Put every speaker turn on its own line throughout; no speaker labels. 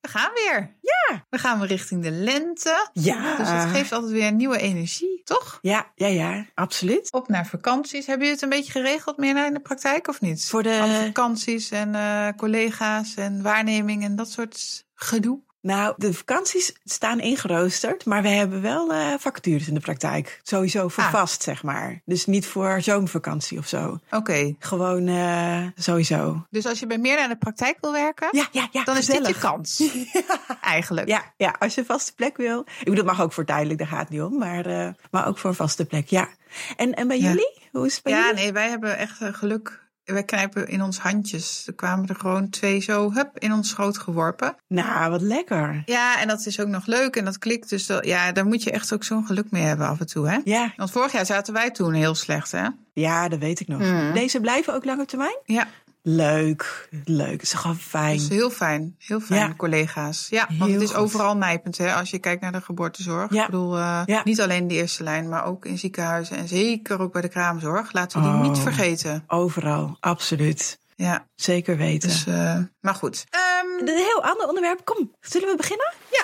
gaan weer. Ja. We gaan weer richting de lente.
Ja.
Dus het geeft altijd weer nieuwe energie, toch?
Ja, ja, ja, absoluut.
Op naar vakanties. Hebben jullie het een beetje geregeld meer naar in de praktijk of niet?
Voor de-
Alle vakanties en eh, collega's en waarneming en dat soort gedoe.
Nou, de vakanties staan ingeroosterd, maar we hebben wel eh, vacatures in de praktijk. Sowieso voor
Ah.
vast, zeg maar. Dus niet voor zomervakantie of zo.
Oké.
Gewoon eh, sowieso.
Dus als je bij meer naar de praktijk wil werken,
Ja, ja, ja.
dan is dit
gezellig.
je kans. Eigenlijk.
Ja, ja, als je een vaste plek wil. Ik bedoel, dat mag ook voor tijdelijk, daar gaat het niet om. Maar, eh, maar ook voor een vaste plek, ja. En, en bij
Ja.
jullie? Hoe is het bij
Ja,
jullie?
nee, wij hebben echt eh, geluk. Wij knijpen in ons handjes. Er kwamen er gewoon twee zo, hup, in ons schoot geworpen.
Nou, wat lekker.
Ja, en dat is ook nog leuk en dat klikt. Dus dat, ja, daar moet je echt ook zo'n geluk mee hebben af en toe, hè?
Ja,
Want vorig jaar zaten wij toen heel slecht, hè?
ja, dat weet ik nog.
Mm.
Deze blijven ook lang op termijn?
Ja,
Leuk, leuk. Het is gewoon fijn.
dat is heel fijn. Heel fijn,
Ja.
collega's. Ja, want
Heel
het is
goed.
overal nijpend, hè? Als je kijkt naar de geboortezorg.
Ja.
Ik bedoel, eh,
Ja.
niet alleen de eerste lijn, maar ook in ziekenhuizen. En zeker ook bij de kraamzorg. Laten we die
Oh.
niet vergeten.
Overal, absoluut.
Ja,
Zeker weten.
dus, eh, maar goed. Ehm,
eh, Een heel ander onderwerp. Kom, zullen we beginnen?
ja,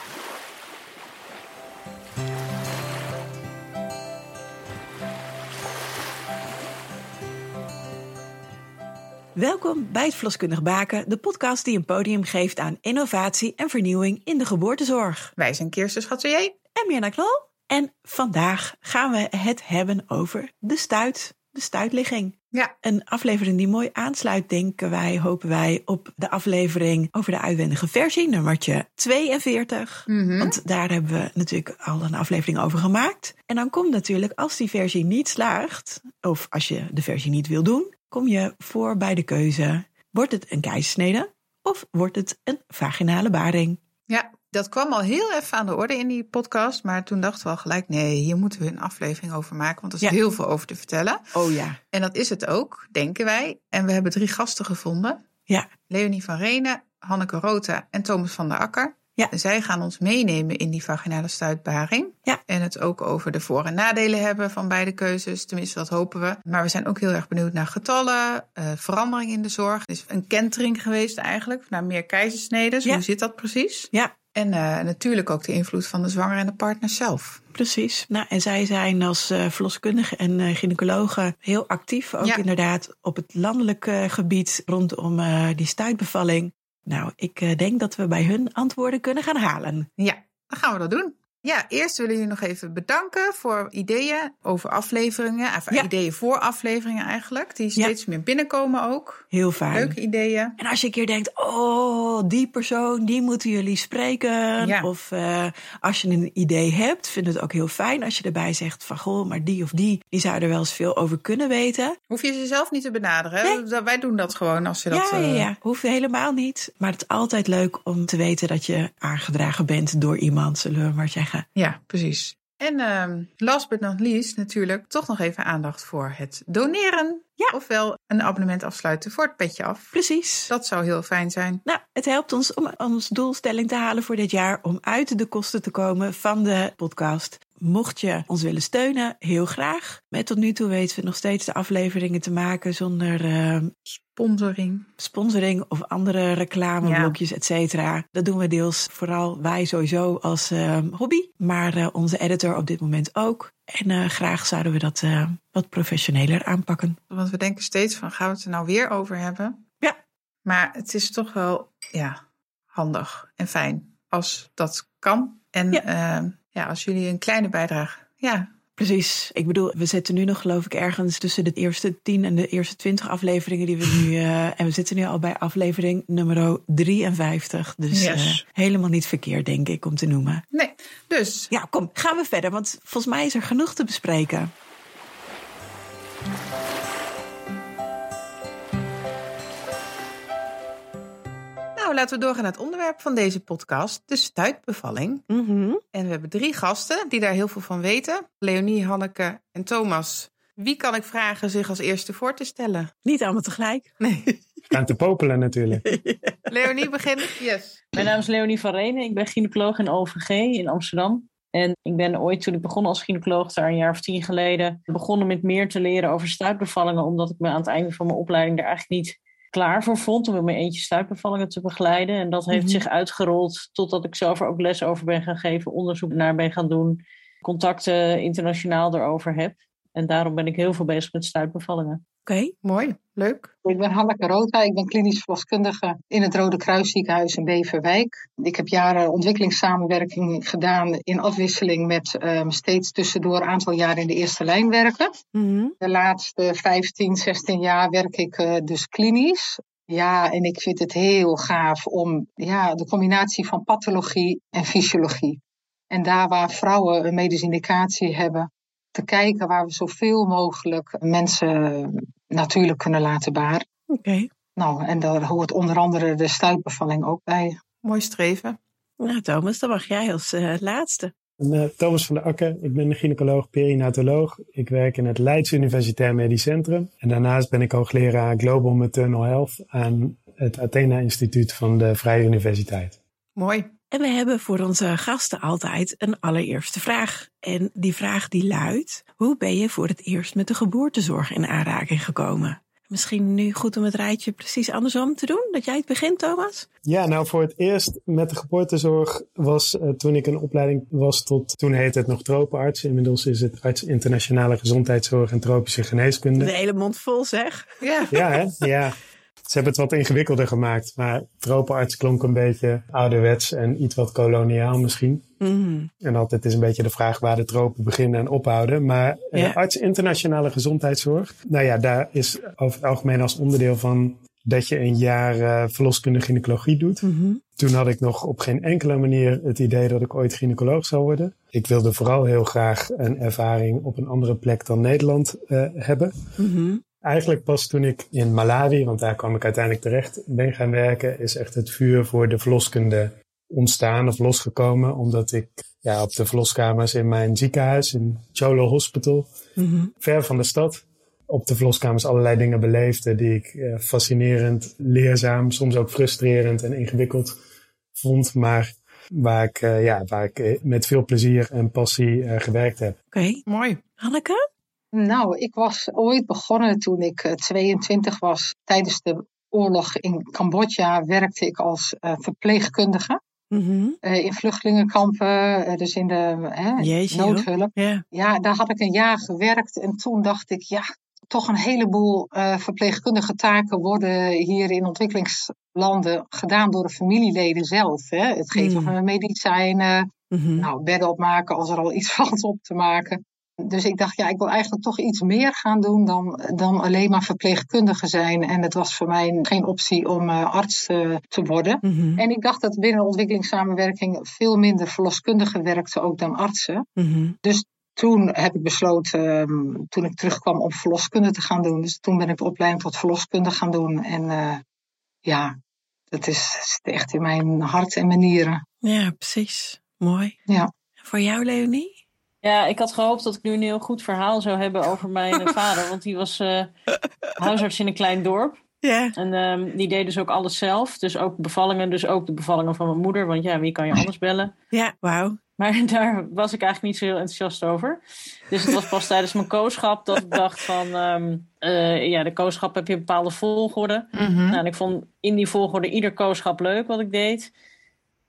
Welkom bij het Verloskundig Baken, de podcast die een podium geeft aan innovatie en vernieuwing in de geboortezorg.
wij zijn Kirsten Schatelier.
En Mirna Knol. En vandaag gaan we het hebben over de stuit, de stuitligging.
Ja,
Een aflevering die mooi aansluit, denken wij, hopen wij, op de aflevering over de uitwendige versie, nummertje 42. Want daar hebben we natuurlijk al een aflevering over gemaakt. En dan komt natuurlijk, als die versie niet slaagt, of als je de versie niet wil doen, kom je voor bij de keuze: wordt het een keizersnede of wordt het een vaginale baring?
ja, dat kwam al heel even aan de orde in die podcast. Maar toen dachten we al gelijk, nee, hier moeten we een aflevering over maken. Want er is
Ja.
heel veel over te vertellen.
Oh ja,
En dat is het ook, denken wij. En we hebben drie gasten gevonden.
ja,
Leonie van Renen, Hanneke Rota en Thomas van der Akker.
Ja.
En zij gaan ons meenemen in die vaginale stuitbaring.
Ja.
En het ook over de voor- en nadelen hebben van beide keuzes. Tenminste, dat hopen we. Maar we zijn ook heel erg benieuwd naar getallen, eh, verandering in de zorg. Er is een kentering geweest eigenlijk, naar meer keizersneden.
Ja.
Hoe zit dat precies?
ja.
En eh, natuurlijk ook de invloed van de zwanger en de partner zelf.
Precies. Nou, en zij zijn als eh verloskundige en eh gynaecologe heel actief. Ook
Ja.
inderdaad op het landelijke gebied rondom eh, die stuitbevalling. Nou, ik eh, denk dat we bij hun antwoorden kunnen gaan halen.
Ja, dan gaan we dat doen. Ja, eerst willen jullie nog even bedanken voor ideeën over afleveringen. Of
Ja.
ideeën voor afleveringen eigenlijk. Die
Ja.
steeds meer binnenkomen ook.
Heel fijn.
Leuke ideeën.
En als je een keer denkt, oh, die persoon, die moeten jullie spreken.
Ja.
Of eh, als je een idee hebt, vind het ook heel fijn als je erbij zegt van, goh, maar die of die, die zou er wel eens veel over kunnen weten.
Hoef je ze zelf niet te benaderen. hè? Dat- Wij doen dat gewoon als je dat...
ja,
eh,
ja, ja, hoeft helemaal niet. Maar het is altijd leuk om te weten dat je aangedragen bent door iemand, zullen we maar zeggen.
ja, precies. En ehm, last but not least natuurlijk toch nog even aandacht voor het doneren.
Ja.
Ofwel een abonnement afsluiten voor het petje af.
Precies.
Dat zou heel fijn zijn.
Nou, het helpt ons om ons doelstelling te halen voor dit jaar om uit de kosten te komen van de podcast. Mocht je ons willen steunen, heel graag. Met tot nu toe weten we nog steeds de afleveringen te maken zonder ehm,
Sponsoring.
sponsoring of andere reclameblokjes, et cetera. Dat doen we deels vooral wij sowieso als ehm, hobby, maar eh, onze editor op dit moment ook. En eh, graag zouden we dat eh, wat professioneler aanpakken.
Want we denken steeds van, gaan we het er nou weer over hebben?
Ja.
Maar het is toch wel ja, handig en fijn als dat kan. En
Ja.
ehm, ja, als jullie een kleine bijdrage... Ja,
Precies. Ik bedoel, we zitten nu nog geloof ik ergens tussen de eerste 10 en de eerste 20 afleveringen die we nu... eh, en we zitten nu al bij aflevering nummer 53. Dus eh,
Yes.
helemaal niet verkeerd, denk ik, om te noemen.
nee. Dus,
Ja, kom, gaan we verder, want volgens mij is er genoeg te bespreken.
nou laten we doorgaan naar het onderwerp van deze podcast. De stuitbevalling. En we hebben drie gasten die daar heel veel van weten. Leonie, Hanneke en Thomas. Wie kan ik vragen zich als eerste voor te stellen?
Niet allemaal tegelijk.
Aan te popelen natuurlijk.
Leonie, begin. Yes.
Mijn naam is Leonie van Renen. Ik ben gynaecoloog in OVG in Amsterdam. En ik ben ooit, toen ik begon als gynaecoloog, daar een jaar of tien geleden, begonnen met meer te leren over stuitbevallingen. Omdat ik me aan het einde van mijn opleiding daar eigenlijk niet klaar voor vond om in mijn eentje stuipbevallingen te begeleiden. En dat heeft
Mhm.
zich uitgerold totdat ik zelf er ook les over ben gaan geven, onderzoek naar ben gaan doen, contacten internationaal erover heb. En daarom ben ik heel veel bezig met stuipbevallingen.
Mooi, leuk.
Ik ben Hanneke Roodwijk, ik ben klinisch verloskundige in het Rode Kruisziekenhuis in Beverwijk. Ik heb jaren ontwikkelingssamenwerking gedaan in afwisseling met ehm, steeds tussendoor een aantal jaar in de eerste lijn werken.
Mhm.
De laatste 15, 16 jaar werk ik eh, dus klinisch. Ja, en ik vind het heel gaaf om ja, de combinatie van pathologie en fysiologie. En daar waar vrouwen een medische indicatie hebben, te kijken waar we zoveel mogelijk mensen eh, natuurlijk kunnen laten baren.
Oké.
Nou, en daar hoort onder andere de stuitbevalling ook bij.
Mooi streven.
Nou, Thomas, dan mag jij als eh, laatste.
Ik ben, eh, Thomas van der Akke, ik ben gynaecoloog, perinatoloog. Ik werk in het Leids Universitair Medisch Centrum. En daarnaast ben ik hoogleraar Global Maternal Health aan het Athena Instituut van de Vrije Universiteit.
Mooi.
En we hebben voor onze gasten altijd een allereerste vraag. En die vraag die luidt, hoe ben je voor het eerst met de geboortezorg in aanraking gekomen? Misschien nu goed om het rijtje precies andersom te doen, dat jij het begint, Thomas?
Ja, nou voor het eerst met de geboortezorg was eh, toen ik een opleiding was tot, toen heette het nog tropenarts. Inmiddels is het arts internationale gezondheidszorg en tropische geneeskunde.
De hele mond vol, zeg.
Ja,
Ja, hè? ja. Ze hebben het wat ingewikkelder gemaakt, maar tropenarts klonk een beetje ouderwets en iets wat koloniaal misschien.
Mhm.
En altijd is een beetje de vraag waar de tropen beginnen en ophouden. Maar eh,
Ja.
arts internationale gezondheidszorg, nou ja, daar is over het algemeen als onderdeel van dat je een jaar eh, verloskundige gynaecologie doet.
Mhm.
Toen had ik nog op geen enkele manier het idee dat ik ooit gynaecoloog zou worden. Ik wilde vooral heel graag een ervaring op een andere plek dan Nederland eh, hebben.
Mhm.
Eigenlijk pas toen ik in Malawi, want daar kwam ik uiteindelijk terecht, ben gaan werken, is echt het vuur voor de verloskunde ontstaan of losgekomen. Omdat ik ja, op de verloskamers in mijn ziekenhuis, in Cholo Hospital,
Mhm.
ver van de stad, op de verloskamers allerlei dingen beleefde die ik eh, fascinerend, leerzaam, soms ook frustrerend en ingewikkeld vond. Maar waar ik, eh, ja, waar ik eh, met veel plezier en passie eh, gewerkt heb.
Oké,
mooi.
Hanneke?
Nou, ik was ooit begonnen toen ik eh, 22 was. Tijdens de oorlog in Cambodja werkte ik als eh, verpleegkundige.
Mhm.
eh, in vluchtelingenkampen, eh, dus in de hè,
Jeetje, joh.
noodhulp.
Ja.
Ja, daar had ik een jaar gewerkt en toen dacht ik, ja, toch een heleboel eh, verpleegkundige taken worden hier in ontwikkelingslanden gedaan door de familieleden zelf. Hè? Het geven
Mm.
van medicijnen,
Mhm.
nou, bedden opmaken als er al iets valt op te maken. Dus ik dacht, ja, ik wil eigenlijk toch iets meer gaan doen dan, dan alleen maar verpleegkundige zijn. En het was voor mij geen optie om eh, arts eh, te worden.
Mhm.
En ik dacht dat binnen ontwikkelingssamenwerking veel minder verloskundigen werkten ook dan artsen.
Mhm.
Toen heb ik besloten, ehm, toen ik terugkwam, om verloskunde te gaan doen. Dus toen ben ik de opleiding tot verloskunde gaan doen. En eh, ja, dat is, zit echt in mijn hart en mijn nieren.
Ja, precies. Mooi.
Ja.
En Voor jou, Leonie?
Ja, ik had gehoopt dat ik nu een heel goed verhaal zou hebben over mijn eh, vader. Want die was eh, huisarts in een klein dorp.
Ja.
En ehm, die deed dus ook alles zelf. Dus ook bevallingen, dus ook de bevallingen van mijn moeder. Want ja, wie kan je anders bellen?
Ja, wauw.
Maar daar was ik eigenlijk niet zo heel enthousiast over. Dus het was pas tijdens mijn kooschap dat ik dacht van... ehm, eh, ja, de kooschap heb je een bepaalde volgorde. Nou, en ik vond in die volgorde ieder kooschap leuk wat ik deed.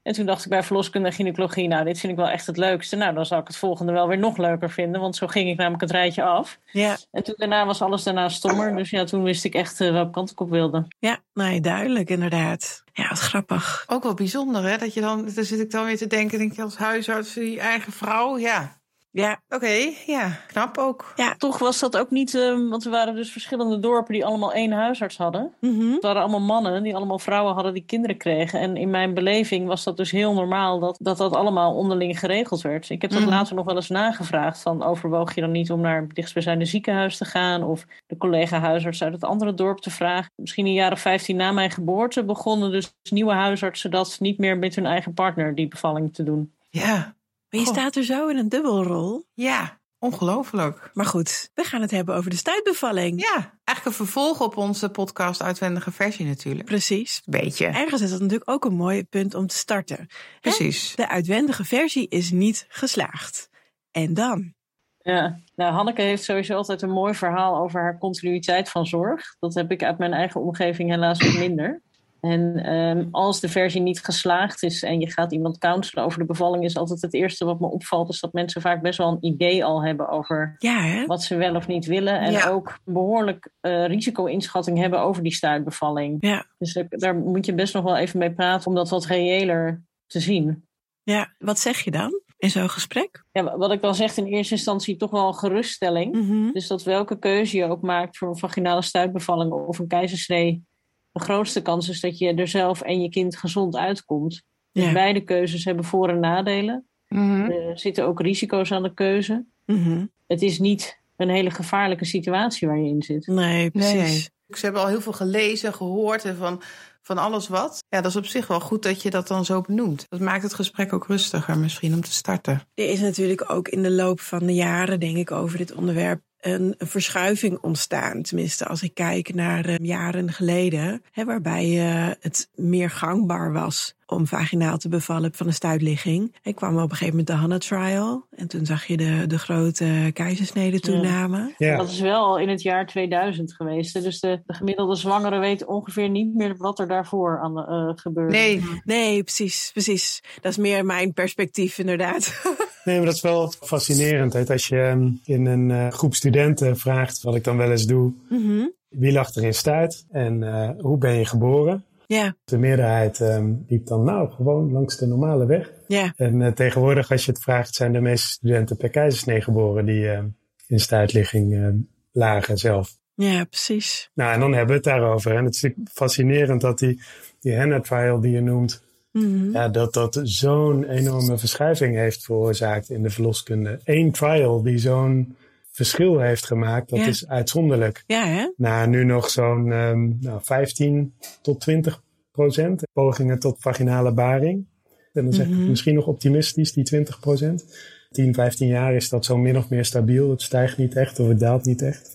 En toen dacht ik bij verloskunde en gynaecologie... nou, dit vind ik wel echt het leukste. Nou, dan zal ik het volgende wel weer nog leuker vinden. Want zo ging ik namelijk het rijtje af.
Ja,
En toen daarna was alles daarna stommer. Dus ja, toen wist ik echt eh, welke kant ik op wilde.
ja. Nee, duidelijk, inderdaad. Ja, wat grappig.
Ook wel bijzonder, hè? Dat je dan, daar zit ik dan weer te denken, denk je als huisarts, die eigen vrouw, ja.
Ja,
Oké, ja, knap ook.
Toch was dat ook niet... ehm, want er waren dus verschillende dorpen die allemaal één huisarts hadden.
Mhm.
Het waren allemaal mannen die allemaal vrouwen hadden die kinderen kregen. En in mijn beleving was dat dus heel normaal dat dat, dat allemaal onderling geregeld werd. Ik heb dat
Mhm.
later nog wel eens nagevraagd. Van overwoog je dan niet om naar het dichtstbijzijnde ziekenhuis te gaan? Of de collega huisarts uit het andere dorp te vragen? Misschien in de jaren 15 na mijn geboorte begonnen dus nieuwe huisartsen dat niet meer met hun eigen partner die bevalling te doen.
Ja,
maar je
Goh.
staat er zo in een dubbelrol.
ja, ongelooflijk.
Maar goed, we gaan het hebben over de stuitbevalling.
Ja, eigenlijk een vervolg op onze podcast Uitwendige Versie natuurlijk.
Precies.
Beetje,
Ergens is dat natuurlijk ook een mooi punt om te starten.
precies.
De uitwendige versie is niet geslaagd. En dan?
Ja, nou, Hanneke heeft sowieso altijd een mooi verhaal over haar continuïteit van zorg. Dat heb ik uit mijn eigen omgeving helaas wat minder. En ehm, als de versie niet geslaagd is en je gaat iemand counselen over de bevalling, is altijd het eerste wat me opvalt, is dat mensen vaak best wel een idee al hebben over
Ja, hè?
wat ze wel of niet willen. En
Ja.
ook behoorlijk eh, risico-inschatting hebben over die stuitbevalling.
Ja,
Dus daar- daar moet je best nog wel even mee praten om dat wat reëler te zien.
ja. Wat zeg je dan in zo'n gesprek?
Ja, wat ik dan zeg, in eerste instantie toch wel een geruststelling.
Mhm.
Dus dat welke keuze je ook maakt voor een vaginale stuitbevalling of een keizersnee, de grootste kans is dat je er zelf en je kind gezond uitkomt. Dus
Ja.
beide keuzes hebben voor- en nadelen.
Mhm.
Er zitten ook risico's aan de keuze.
Mhm.
Het is niet een hele gevaarlijke situatie waar je in zit.
Nee, precies.
Ze hebben al heel veel gelezen, gehoord en van, van alles wat. Ja, dat is op zich wel goed dat je dat dan zo benoemt. Dat maakt het gesprek ook rustiger misschien om te starten.
Er is natuurlijk ook in de loop van de jaren, denk ik, over dit onderwerp een een verschuiving ontstaan. Tenminste, als ik kijk naar eh, jaren geleden, hè, waarbij eh, het meer gangbaar was om vaginaal te bevallen van een stuitligging. Ik kwam op een gegeven moment de Hannah Trial en toen zag je de, de grote keizersnede toename.
Ja,
Dat is wel al in het jaar 2000 geweest. hè. Dus de, de gemiddelde zwangere weet ongeveer niet meer wat er daarvoor aan, eh, gebeurde.
Nee,
Nee, precies, precies. Dat is meer mijn perspectief, inderdaad.
nee, maar dat is wel fascinerend. hè. Als je ehm, in een eh, groep studenten vraagt, wat ik dan wel eens doe,
Mhm.
wie lag er in stuit en eh, hoe ben je geboren?
Ja,
De meerderheid ehm liep dan nou gewoon langs de normale weg.
ja,
En eh, tegenwoordig, als je het vraagt, zijn de meeste studenten per keizersnee geboren die eh, in stuitligging eh, lagen zelf.
ja, precies.
Nou, en dan hebben we het daarover. En het is natuurlijk fascinerend dat die, die Hannah trial die je noemt,
Mhm.
ja, dat dat zo'n enorme verschuiving heeft veroorzaakt in de verloskunde. Eén trial die zo'n verschil heeft gemaakt, dat
Ja.
is uitzonderlijk.
Ja, hè?
Na nu nog zo'n ehm, nou, 15 tot 20 procent pogingen tot vaginale baring. En dan zeg ik
Mhm.
misschien nog optimistisch, die 20 procent. 10, 15 jaar is dat zo min of meer stabiel. Het stijgt niet echt of het daalt niet echt.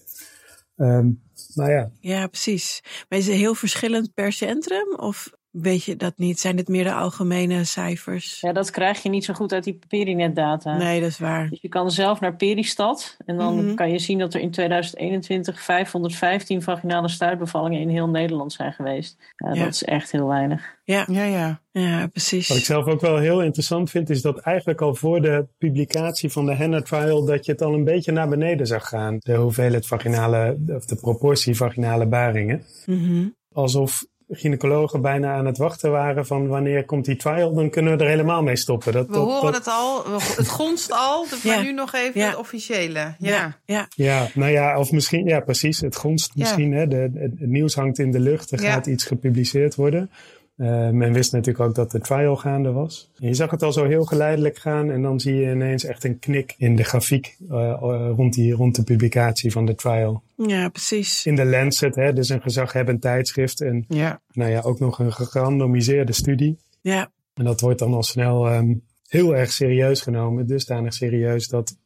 Ehm nou ja,
Ja, precies. Maar is het heel verschillend per centrum? Of weet je dat niet? Zijn het meer de algemene cijfers?
Ja, dat krijg je niet zo goed uit die Perinet-data.
Nee, dat is waar.
Dus je kan zelf naar Peristad. En dan
Mhm.
kan je zien dat er in 2021 515 vaginale stuitbevallingen in heel Nederland zijn geweest. Ja,
Ja.
Dat is echt heel weinig.
ja, ja.
Ja,
Wat ik
precies.
zelf ook wel heel interessant vind, is dat eigenlijk al voor de publicatie van de Hannah Trial, dat je het al een beetje naar beneden zag gaan. De hoeveelheid vaginale, of de proportie vaginale baringen.
Mhm.
Alsof gynaecologen bijna aan het wachten waren van wanneer komt die trial, dan kunnen we er helemaal mee stoppen. Dat,
We
dat-
horen
dat-
het al, we- het gonst al, maar
Ja.
nu nog even
Ja.
het officiële. Ja.
Ja, ja,
Ja, nou ja, of misschien, ja precies, het gonst
Ja.
misschien. Hè, de, het, het nieuws hangt in de lucht, er
Ja.
gaat iets gepubliceerd worden. Eh, men wist natuurlijk ook dat de trial gaande was. En je zag het al zo heel geleidelijk gaan en dan zie je ineens echt een knik in de grafiek eh, eh, rond, die, rond de publicatie van de trial.
ja, precies.
In de Lancet, hè, dus een gezaghebbend tijdschrift en
Ja.
nou ja, ook nog een gerandomiseerde studie.
Ja,
En dat wordt dan al snel ehm, heel erg serieus genomen. Dusdanig serieus dat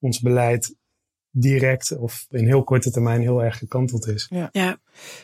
ons beleid direct of in heel korte termijn heel erg gekanteld is.
ja.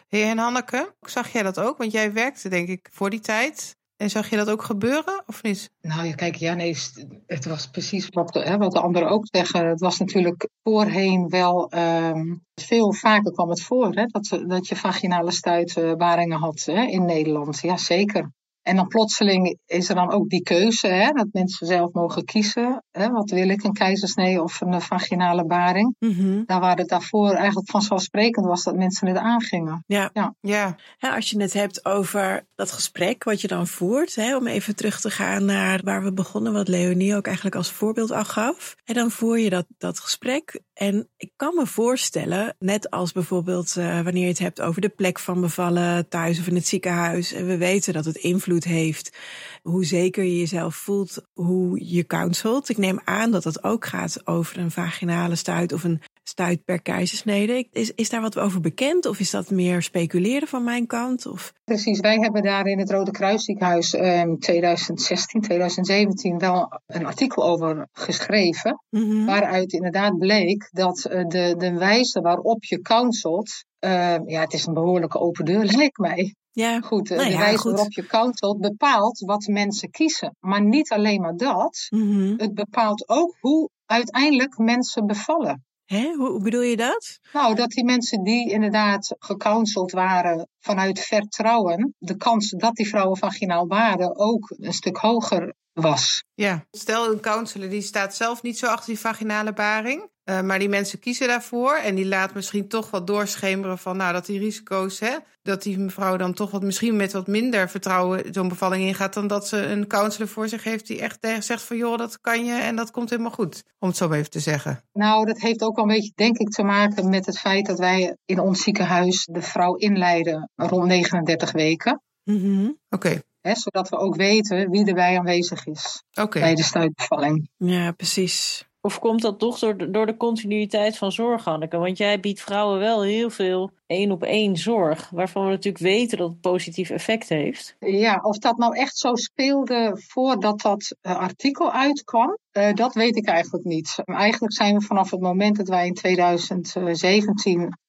Hey, en Hanneke, zag jij dat ook? Want jij werkte denk ik voor die tijd. En zag je dat ook gebeuren of niet?
Nou ja, kijk, ja, nee, st- het was precies wat de, hè, wat de anderen ook zeggen. Het was natuurlijk voorheen wel ehm, veel vaker kwam het voor hè, dat, we- dat je vaginale stuitbaringen had hè, in Nederland. Ja, zeker. En dan plotseling is er dan ook die keuze, hè, dat mensen zelf mogen kiezen. Hè, wat wil ik, een keizersnee of een eh, vaginale baring?
Mhm.
Daar waar het daarvoor eigenlijk vanzelfsprekend was dat mensen het aangingen.
Ja.
Ja, als je het hebt over dat gesprek wat je dan voert, hè, om even terug te gaan naar waar we begonnen, wat Leonie ook eigenlijk als voorbeeld al gaf. En dan voer je dat, dat gesprek. En ik kan me voorstellen, net als bijvoorbeeld eh, wanneer je het hebt over de plek van bevallen thuis of in het ziekenhuis. En we weten dat het invloed heeft hoe zeker je jezelf voelt, hoe je counselt. Ik neem aan dat dat ook gaat over een vaginale stuit of een stuit per keizersnede. Is, is daar wat over bekend of is dat meer speculeren van mijn kant? Of,
Precies, wij hebben daar in het Rode Kruisziekenhuis in 2016, 2017 wel een artikel over geschreven.
Mhm.
Waaruit inderdaad bleek dat eh, de, de wijze waarop je counselt. eh, ja, het is een behoorlijke open deur, lijkt mij.
Ja,
Goed, eh,
Nou
de
ja,
wijze
goed.
waarop je counselt bepaalt wat mensen kiezen. Maar niet alleen maar dat.
Mhm.
Het bepaalt ook hoe eh, uiteindelijk mensen bevallen.
Hè? Hoe, hoe bedoel je dat?
Nou, dat die mensen die inderdaad gecounseld waren vanuit vertrouwen, de kans dat die vrouwen vaginaal waren ook een stuk hoger was.
Ja, stel een counselor die staat zelf niet zo achter die vaginale baring. eh, maar die mensen kiezen daarvoor en die laat misschien toch wat doorschemeren van nou dat die risico's, hè, dat die mevrouw dan toch wat misschien met wat minder vertrouwen zo'n bevalling ingaat dan dat ze een counselor voor zich heeft die echt tegen zegt van joh, dat kan je en dat komt helemaal goed. Om het zo maar even te zeggen.
Nou, dat heeft ook wel een beetje, denk ik, te maken met het feit dat wij in ons ziekenhuis de vrouw inleiden rond 39 weken.
Mhm.
Oké,
Hè, zodat we ook weten wie erbij aanwezig is
oké.
bij de stuitbevalling.
Ja, precies.
Of komt dat toch door, de- door de continuïteit van zorg, Hanneke? Want jij biedt vrouwen wel heel veel één op één zorg, waarvan we natuurlijk weten dat het positief effect heeft.
Ja, of dat nou echt zo speelde voordat dat eh, artikel uitkwam, eh, dat weet ik eigenlijk niet. Eigenlijk zijn we vanaf het moment dat wij in 2017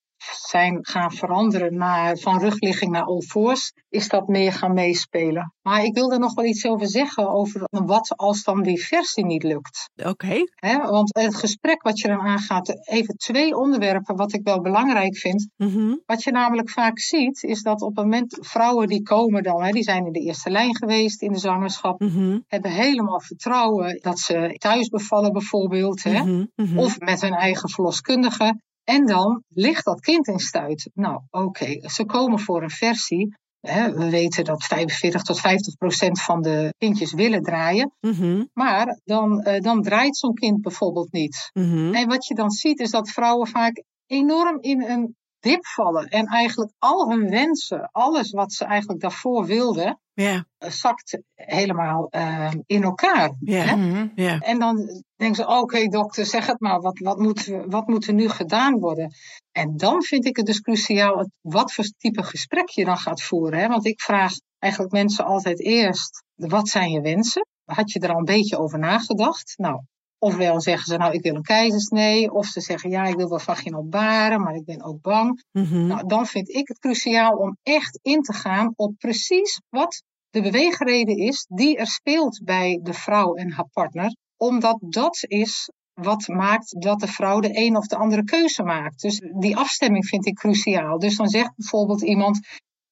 zijn gaan veranderen naar, van rugligging naar all fours, is dat meer gaan meespelen. Maar ik wil er nog wel iets over zeggen over wat als dan die versie niet lukt.
Oké.
Hè? Want het gesprek wat je dan aangaat, even twee onderwerpen wat ik wel belangrijk vind.
Mhm.
Wat je namelijk vaak ziet, is dat op het moment vrouwen die komen dan, hè, die zijn in de eerste lijn geweest in de zwangerschap,
Mhm.
hebben helemaal vertrouwen dat ze thuis bevallen bijvoorbeeld, hè,
Mhm. Mhm.
of met hun eigen verloskundige. En dan ligt dat kind in stuit. Nou, oké, ze komen voor een versie. Hè, we weten dat 45 tot 50 procent van de kindjes willen draaien.
Mhm.
Maar dan, eh, dan draait zo'n kind bijvoorbeeld niet.
Mhm.
En wat je dan ziet is dat vrouwen vaak enorm in een dip vallen. En eigenlijk al hun wensen, alles wat ze eigenlijk daarvoor wilden,
Ja,
eh, zakt helemaal eh, in elkaar.
ja,
Mhm.
ja.
En dan denken ze, oké dokter, zeg het maar, wat, wat, moet, wat moet er nu gedaan worden? En dan vind ik het dus cruciaal het- wat voor type gesprek je dan gaat voeren. Hè? Want ik vraag eigenlijk mensen altijd eerst, wat zijn je wensen? Had je er al een beetje over nagedacht? Nou, ofwel zeggen ze, nou ik wil een keizersnee. Of ze zeggen, ja ik wil wel vaginaal baren, maar ik ben ook bang.
Mhm.
Nou, dan vind ik het cruciaal om echt in te gaan op precies wat de beweegreden is die er speelt bij de vrouw en haar partner. Omdat dat is wat maakt dat de vrouw de een of de andere keuze maakt. Dus die afstemming vind ik cruciaal. Dus dan zegt bijvoorbeeld iemand: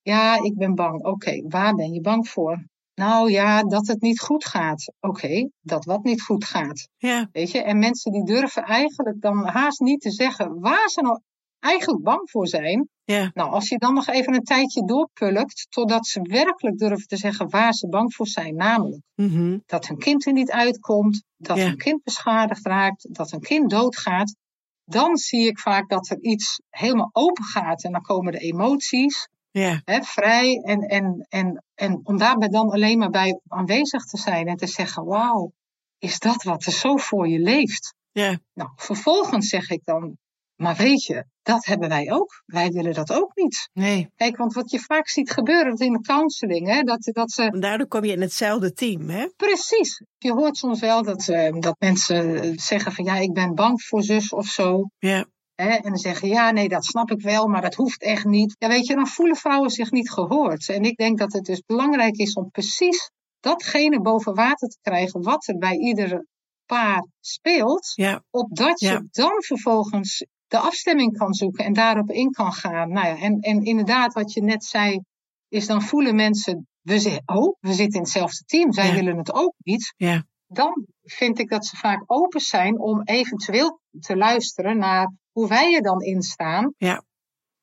Ja, ik ben bang. Oké, waar ben je bang voor? Nou ja, dat het niet goed gaat. Oké, dat wat niet goed gaat.
Ja,
Weet je? En mensen die durven eigenlijk dan haast niet te zeggen waar ze nou eigenlijk bang voor zijn.
ja.
Nou, als je dan nog even een tijdje doorpulkt, totdat ze werkelijk durven te zeggen waar ze bang voor zijn. Namelijk
Mhm.
dat hun kind er niet uitkomt, dat
Ja.
hun kind beschadigd raakt, dat hun kind doodgaat. Dan zie ik vaak dat er iets helemaal open gaat en dan komen de emoties
Ja,
hè, vrij. En, en, en, en om daarbij dan alleen maar bij aanwezig te zijn en te zeggen: Wauw, is dat wat er zo voor je leeft?
Ja.
Nou, vervolgens zeg ik dan: Maar weet je, dat hebben wij ook. Wij willen dat ook niet.
Nee.
Kijk, want wat je vaak ziet gebeuren in de counseling, hè, dat, dat ze
en daardoor kom je in hetzelfde team, hè?
precies. Je hoort soms wel dat, eh, dat mensen eh, zeggen: van ja, ik ben bang voor zus of zo.
Ja,
Hè, en dan zeggen, ja, nee, dat snap ik wel, maar dat hoeft echt niet. Ja, weet je, dan voelen vrouwen zich niet gehoord. En ik denk dat het dus belangrijk is om precies datgene boven water te krijgen wat er bij ieder paar speelt,
ja,
opdat je
Ja.
dan vervolgens de afstemming kan zoeken en daarop in kan gaan. Nou ja, en, en inderdaad, wat je net zei, is dan voelen mensen, we, zi- oh, we zitten in hetzelfde team, zij
Ja.
willen het ook niet.
Ja.
Dan vind ik dat ze vaak open zijn om eventueel te luisteren naar hoe wij er dan in staan.
Ja.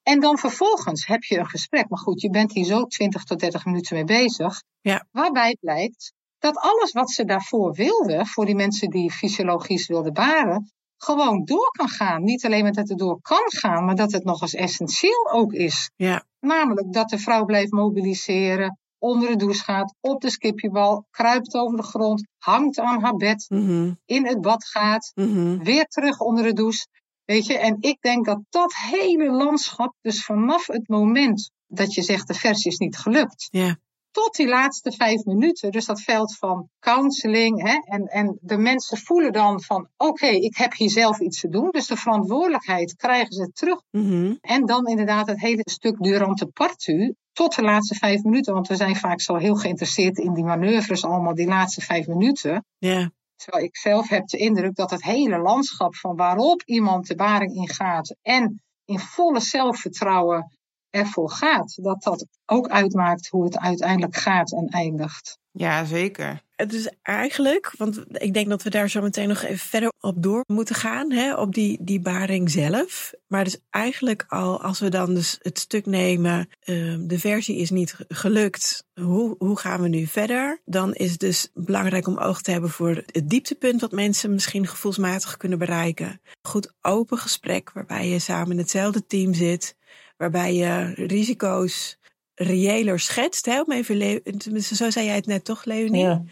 En dan vervolgens heb je een gesprek. Maar goed, je bent hier zo 20 tot 30 minuten mee bezig.
Ja.
Waarbij blijkt dat alles wat ze daarvoor wilden, voor die mensen die fysiologisch wilden baren, gewoon door kan gaan. Niet alleen maar dat het door kan gaan, maar dat het nog eens essentieel ook is.
ja,
Namelijk dat de vrouw blijft mobiliseren, onder de douche gaat, op de skipjebal, kruipt over de grond, hangt aan haar bed,
mhm,
in het bad gaat,
mhm.
weer terug onder de douche. Weet je, en ik denk dat dat hele landschap, dus vanaf het moment dat je zegt de vers is niet gelukt,
Ja.
tot die laatste vijf minuten, dus dat veld van counseling, hè, en, en de mensen voelen dan van, oké, ik heb hier zelf iets te doen, dus de verantwoordelijkheid krijgen ze terug
mhm.
en dan inderdaad het hele stuk durante partu tot de laatste vijf minuten. Want we zijn vaak zo heel geïnteresseerd in die manoeuvres allemaal, die laatste vijf minuten.
ja,
Terwijl ik zelf heb de indruk dat het hele landschap van waarop iemand de baring ingaat en in volle zelfvertrouwen ervoor gaat, dat dat ook uitmaakt hoe het uiteindelijk gaat en eindigt.
Ja, zeker.
Het is eigenlijk, want ik denk dat we daar zo meteen nog even verder op door moeten gaan, hè, op die, die baring zelf. Maar dus eigenlijk al, als we dan dus het stuk nemen, uh, de versie is niet gelukt, hoe, hoe gaan we nu verder? Dan is het dus belangrijk om oog te hebben voor het dieptepunt wat mensen misschien gevoelsmatig kunnen bereiken. Goed open gesprek waarbij je samen in hetzelfde team zit, waarbij je risico's reëler schetst. Hè? Om even le- Tenminste, zo zei jij het net toch, Leonie?
Ja.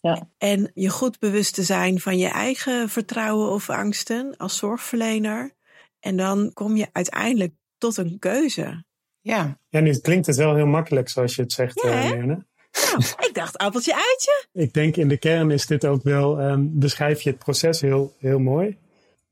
Ja.
En je goed bewust te zijn van je eigen vertrouwen of angsten als zorgverlener. En dan kom je uiteindelijk tot een keuze.
Ja.
Ja, nu klinkt het wel heel makkelijk zoals je het zegt,
Ja,
eh,
hè?
Leone.
Nou, ik dacht appeltje uitje.
Ik denk in de kern is dit ook wel, ehm, beschrijf je het proces heel, heel mooi.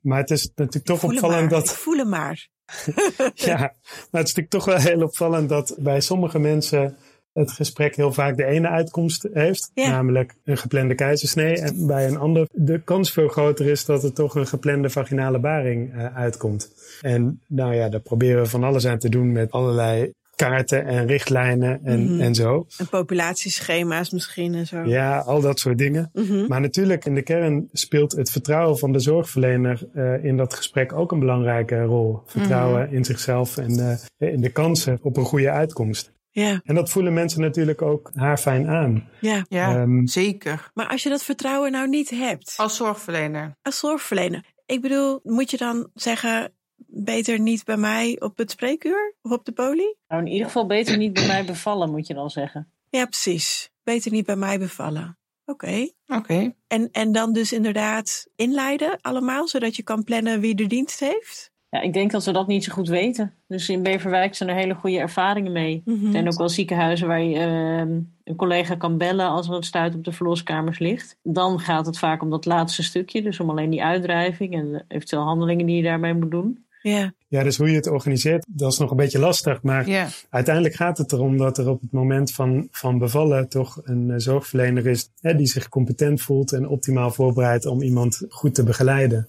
Maar het is natuurlijk toch
Voelen
opvallend
maar.
dat,
Ik voel hem maar.
Ja, maar het is natuurlijk toch wel heel opvallend dat bij sommige mensen het gesprek heel vaak de ene uitkomst heeft,
Ja.
namelijk een geplande keizersnee. En bij een ander de kans veel groter is dat er toch een geplande vaginale baring eh, uitkomt. En nou ja, daar proberen we van alles aan te doen met allerlei kaarten en richtlijnen en,
Mhm.
en zo.
En populatieschema's misschien en zo.
Ja, al dat soort dingen.
Mhm.
Maar natuurlijk, in de kern speelt het vertrouwen van de zorgverlener eh, in dat gesprek ook een belangrijke rol. Vertrouwen in zichzelf en eh, in de kansen op een goede uitkomst.
ja,
En dat voelen mensen natuurlijk ook haarfijn aan.
ja.
Ja,
Ehm,
zeker.
Maar als je dat vertrouwen nou niet hebt
Als zorgverlener.
als zorgverlener. Ik bedoel, moet je dan zeggen, beter niet bij mij op het spreekuur of op de poli?
Nou, in ieder geval beter niet bij mij bevallen, moet je dan zeggen.
Ja, precies. Beter niet bij mij bevallen. Oké.
Oké.
En, en dan dus inderdaad inleiden allemaal, zodat je kan plannen wie de dienst heeft?
Ja, ik denk dat we dat niet zo goed weten. Dus in Beverwijk zijn er hele goede ervaringen mee. Er
Mm.
zijn ook wel ziekenhuizen waar je ehm, een collega kan bellen als er een stuit op de verloskamers ligt. Dan gaat het vaak om dat laatste stukje, dus om alleen die uitdrijving en eventueel handelingen die je daarmee moet doen.
Ja,
ja, dus hoe je het organiseert, dat is nog een beetje lastig. Maar
Ja.
uiteindelijk gaat het erom dat er op het moment van, van bevallen toch een eh, zorgverlener is hè, die zich competent voelt en optimaal voorbereidt om iemand goed te begeleiden.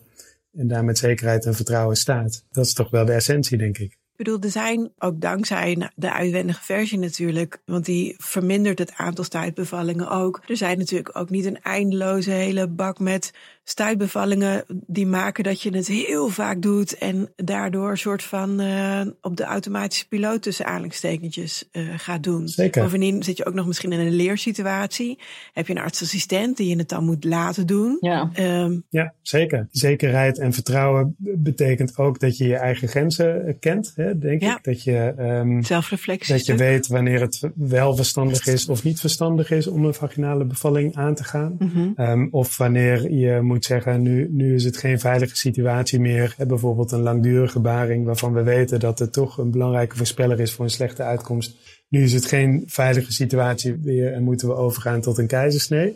En daar met zekerheid en vertrouwen staat. Dat is toch wel de essentie, denk ik.
ik bedoel, er zijn ook dankzij de uitwendige versie natuurlijk, want die vermindert het aantal stuitbevallingen ook. Er zijn natuurlijk ook niet een eindeloze hele bak met stuitbevallingen die maken dat je het heel vaak doet en daardoor een soort van eh, op de automatische piloot tussen aanhalingstekentjes eh, gaat doen.
Zeker.
Bovendien zit je ook nog misschien in een leersituatie. Heb je een artsassistent die je het dan moet laten doen.
Ja,
Ehm,
Ja, zeker. Zekerheid en vertrouwen betekent ook dat je je eigen grenzen eh, kent, hè, denk
Ja.
ik. Dat je, ehm,
Zelfreflectie.
dat je
stuk.
weet wanneer het wel verstandig is of niet verstandig is om een vaginale bevalling aan te gaan.
Mhm.
Ehm, of wanneer je moet zeggen, nu, nu is het geen veilige situatie meer. Hè, bijvoorbeeld een langdurige baring waarvan we weten dat het toch een belangrijke voorspeller is voor een slechte uitkomst. Nu is het geen veilige situatie meer en moeten we overgaan tot een keizersnee.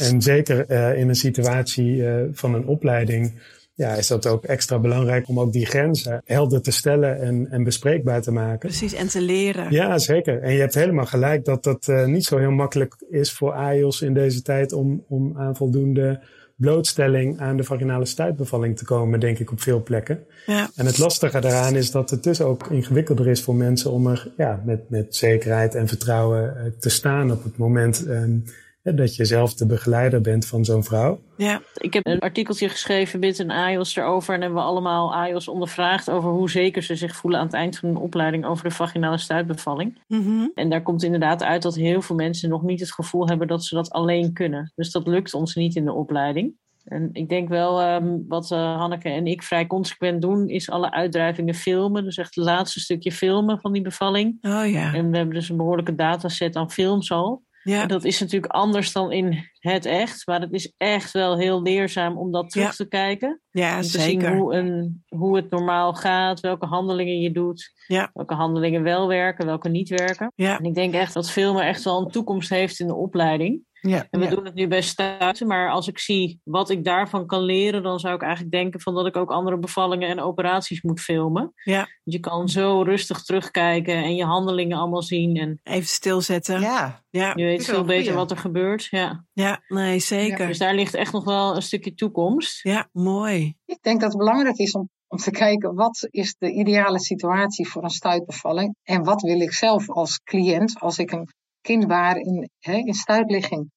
En zeker eh, in een situatie eh, van een opleiding ja, is dat ook extra belangrijk om ook die grenzen helder te stellen en, en bespreekbaar te maken.
Precies, en te leren.
Ja, zeker. En je hebt helemaal gelijk dat dat eh, niet zo heel makkelijk is voor AIOS in deze tijd om, om aan voldoende blootstelling aan de vaginale stuitbevalling te komen, denk ik, op veel plekken.
Ja.
En het lastige daaraan is dat het dus ook ingewikkelder is voor mensen om er ja, met, met zekerheid en vertrouwen eh, te staan op het moment ehm, hè, dat je zelf de begeleider bent van zo'n vrouw.
ja.
ik heb een artikeltje geschreven, Bit en AIOS erover. En hebben we allemaal AIOS ondervraagd over hoe zeker ze zich voelen aan het eind van een opleiding over de vaginale stuitbevalling.
Mhm.
En daar komt inderdaad uit dat heel veel mensen nog niet het gevoel hebben dat ze dat alleen kunnen. Dus dat lukt ons niet in de opleiding. En ik denk wel, ehm, wat eh, Hanneke en ik vrij consequent doen, is alle uitdrijvingen filmen. Dus echt het laatste stukje filmen van die bevalling.
Oh ja.
En we hebben dus een behoorlijke dataset aan films al.
Ja.
En dat is natuurlijk anders dan in het echt. Maar het is echt wel heel leerzaam om dat terug
Ja.
te kijken.
ja,
Om te zien
zeker.
hoe, een, hoe het normaal gaat, welke handelingen je doet.
Ja.
Welke handelingen wel werken, welke niet werken.
Ja.
En ik denk echt dat filmen echt wel een toekomst heeft in de opleiding.
Ja,
En we
ja.
doen het nu bij stuiten, maar als ik zie wat ik daarvan kan leren, dan zou ik eigenlijk denken van dat ik ook andere bevallingen en operaties moet filmen.
Ja.
Want je kan zo rustig terugkijken en je handelingen allemaal zien en
Even stilzetten. Ja,
ja.
ja,
je weet
is wel
veel
een
beter
goeie.
wat er gebeurt. Ja.
nee, zeker. Ja,
Dus daar ligt echt nog wel een stukje toekomst.
mooi.
Ik denk dat het belangrijk is om, om te kijken wat is de ideale situatie voor een stuitbevalling en wat wil ik zelf als cliënt als ik een kind baar in, hè, in stuitligging.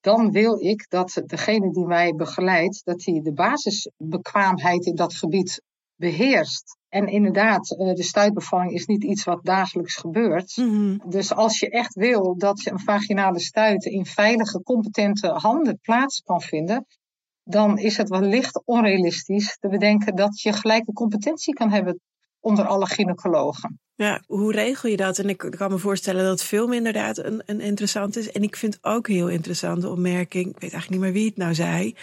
Dan wil ik dat degene die mij begeleidt, dat hij de basisbekwaamheid in dat gebied beheerst. En inderdaad, eh, de stuitbevalling is niet iets wat dagelijks gebeurt.
Mhm.
Dus als je echt wil dat je een vaginale stuit in veilige, competente handen plaats kan vinden, dan is het wellicht onrealistisch te bedenken dat je gelijke competentie kan hebben onder alle gynaecologen.
Ja, hoe regel je dat? En ik kan me voorstellen dat film inderdaad een, een interessant is. En ik vind ook een heel interessante opmerking. Ik weet eigenlijk niet meer wie het nou zei.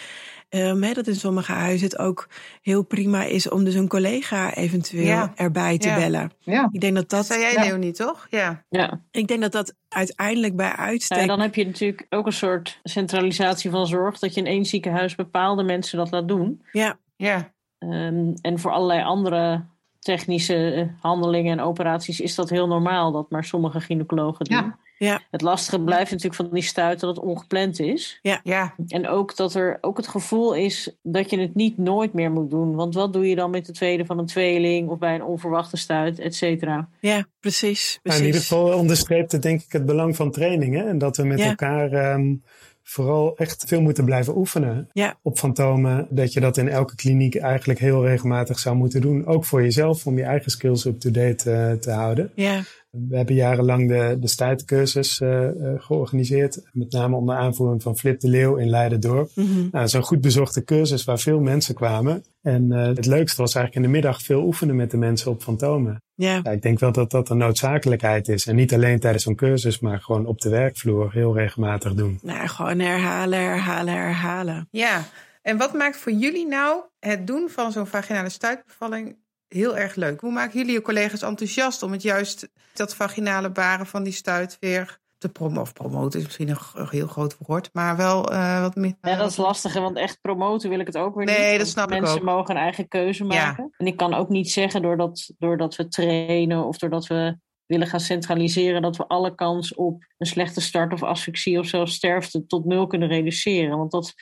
ehm, hè, dat in sommige huizen het ook heel prima is om dus een collega eventueel
Ja.
erbij te
Ja.
bellen.
Ja,
Ik denk dat
Dat
dat,
zei jij,
ja.
Leonie, toch? Ja.
Ja.
ik denk dat, dat uiteindelijk bij
Nou,
uitstek.
en dan heb je natuurlijk ook een soort centralisatie van zorg, dat je in één ziekenhuis bepaalde mensen dat laat doen.
ja,
Ja.
Ehm, en voor allerlei andere technische eh, handelingen en operaties is dat heel normaal dat maar sommige gynaecologen doen.
Ja.
Ja.
Het lastige blijft natuurlijk van die stuiten dat het ongepland is.
Ja.
En ook dat er ook het gevoel is dat je het niet nooit meer moet doen. Want wat doe je dan met de tweede van een tweeling of bij een onverwachte stuit, et cetera.
ja, precies.
Nou,
precies.
in ieder geval onderstreept het denk ik het belang van trainingen. En dat we met
Ja.
elkaar ehm, vooral echt veel moeten blijven oefenen
Ja.
op fantomen. Dat je dat in elke kliniek eigenlijk heel regelmatig zou moeten doen. Ook voor jezelf, om je eigen skills up-to-date eh, te houden.
Ja,
We hebben jarenlang de, de stuitcursus eh, eh, georganiseerd. Met name onder aanvoering van Flip de Leeuw in Leiden-Dorp.
mhm.
Nou, zo'n goed bezochte cursus waar veel mensen kwamen. En eh, het leukste was eigenlijk in de middag veel oefenen met de mensen op fantomen.
ja.
Ja, ik denk wel dat dat een noodzakelijkheid is. En niet alleen tijdens zo'n cursus, maar gewoon op de werkvloer heel regelmatig doen.
Nou, gewoon herhalen, herhalen, herhalen.
Ja. En wat maakt voor jullie nou het doen van zo'n vaginale stuitbevalling heel erg leuk? Hoe maken jullie je collega's enthousiast om het juist dat vaginale baren van die stuit weer te promoten? Of promoten is misschien een, g- een heel groot woord, maar wel eh, wat meer.
Ja, dat is lastig, hè, want echt promoten wil ik het ook weer niet.
Nee, dat
want
snap ik
Mensen
ook.
mogen een eigen keuze
Ja.
maken. En ik kan ook niet zeggen doordat, doordat we trainen of doordat we willen gaan centraliseren, dat we alle kans op een slechte start of asfixie of zelfs sterfte tot nul kunnen reduceren. Want dat,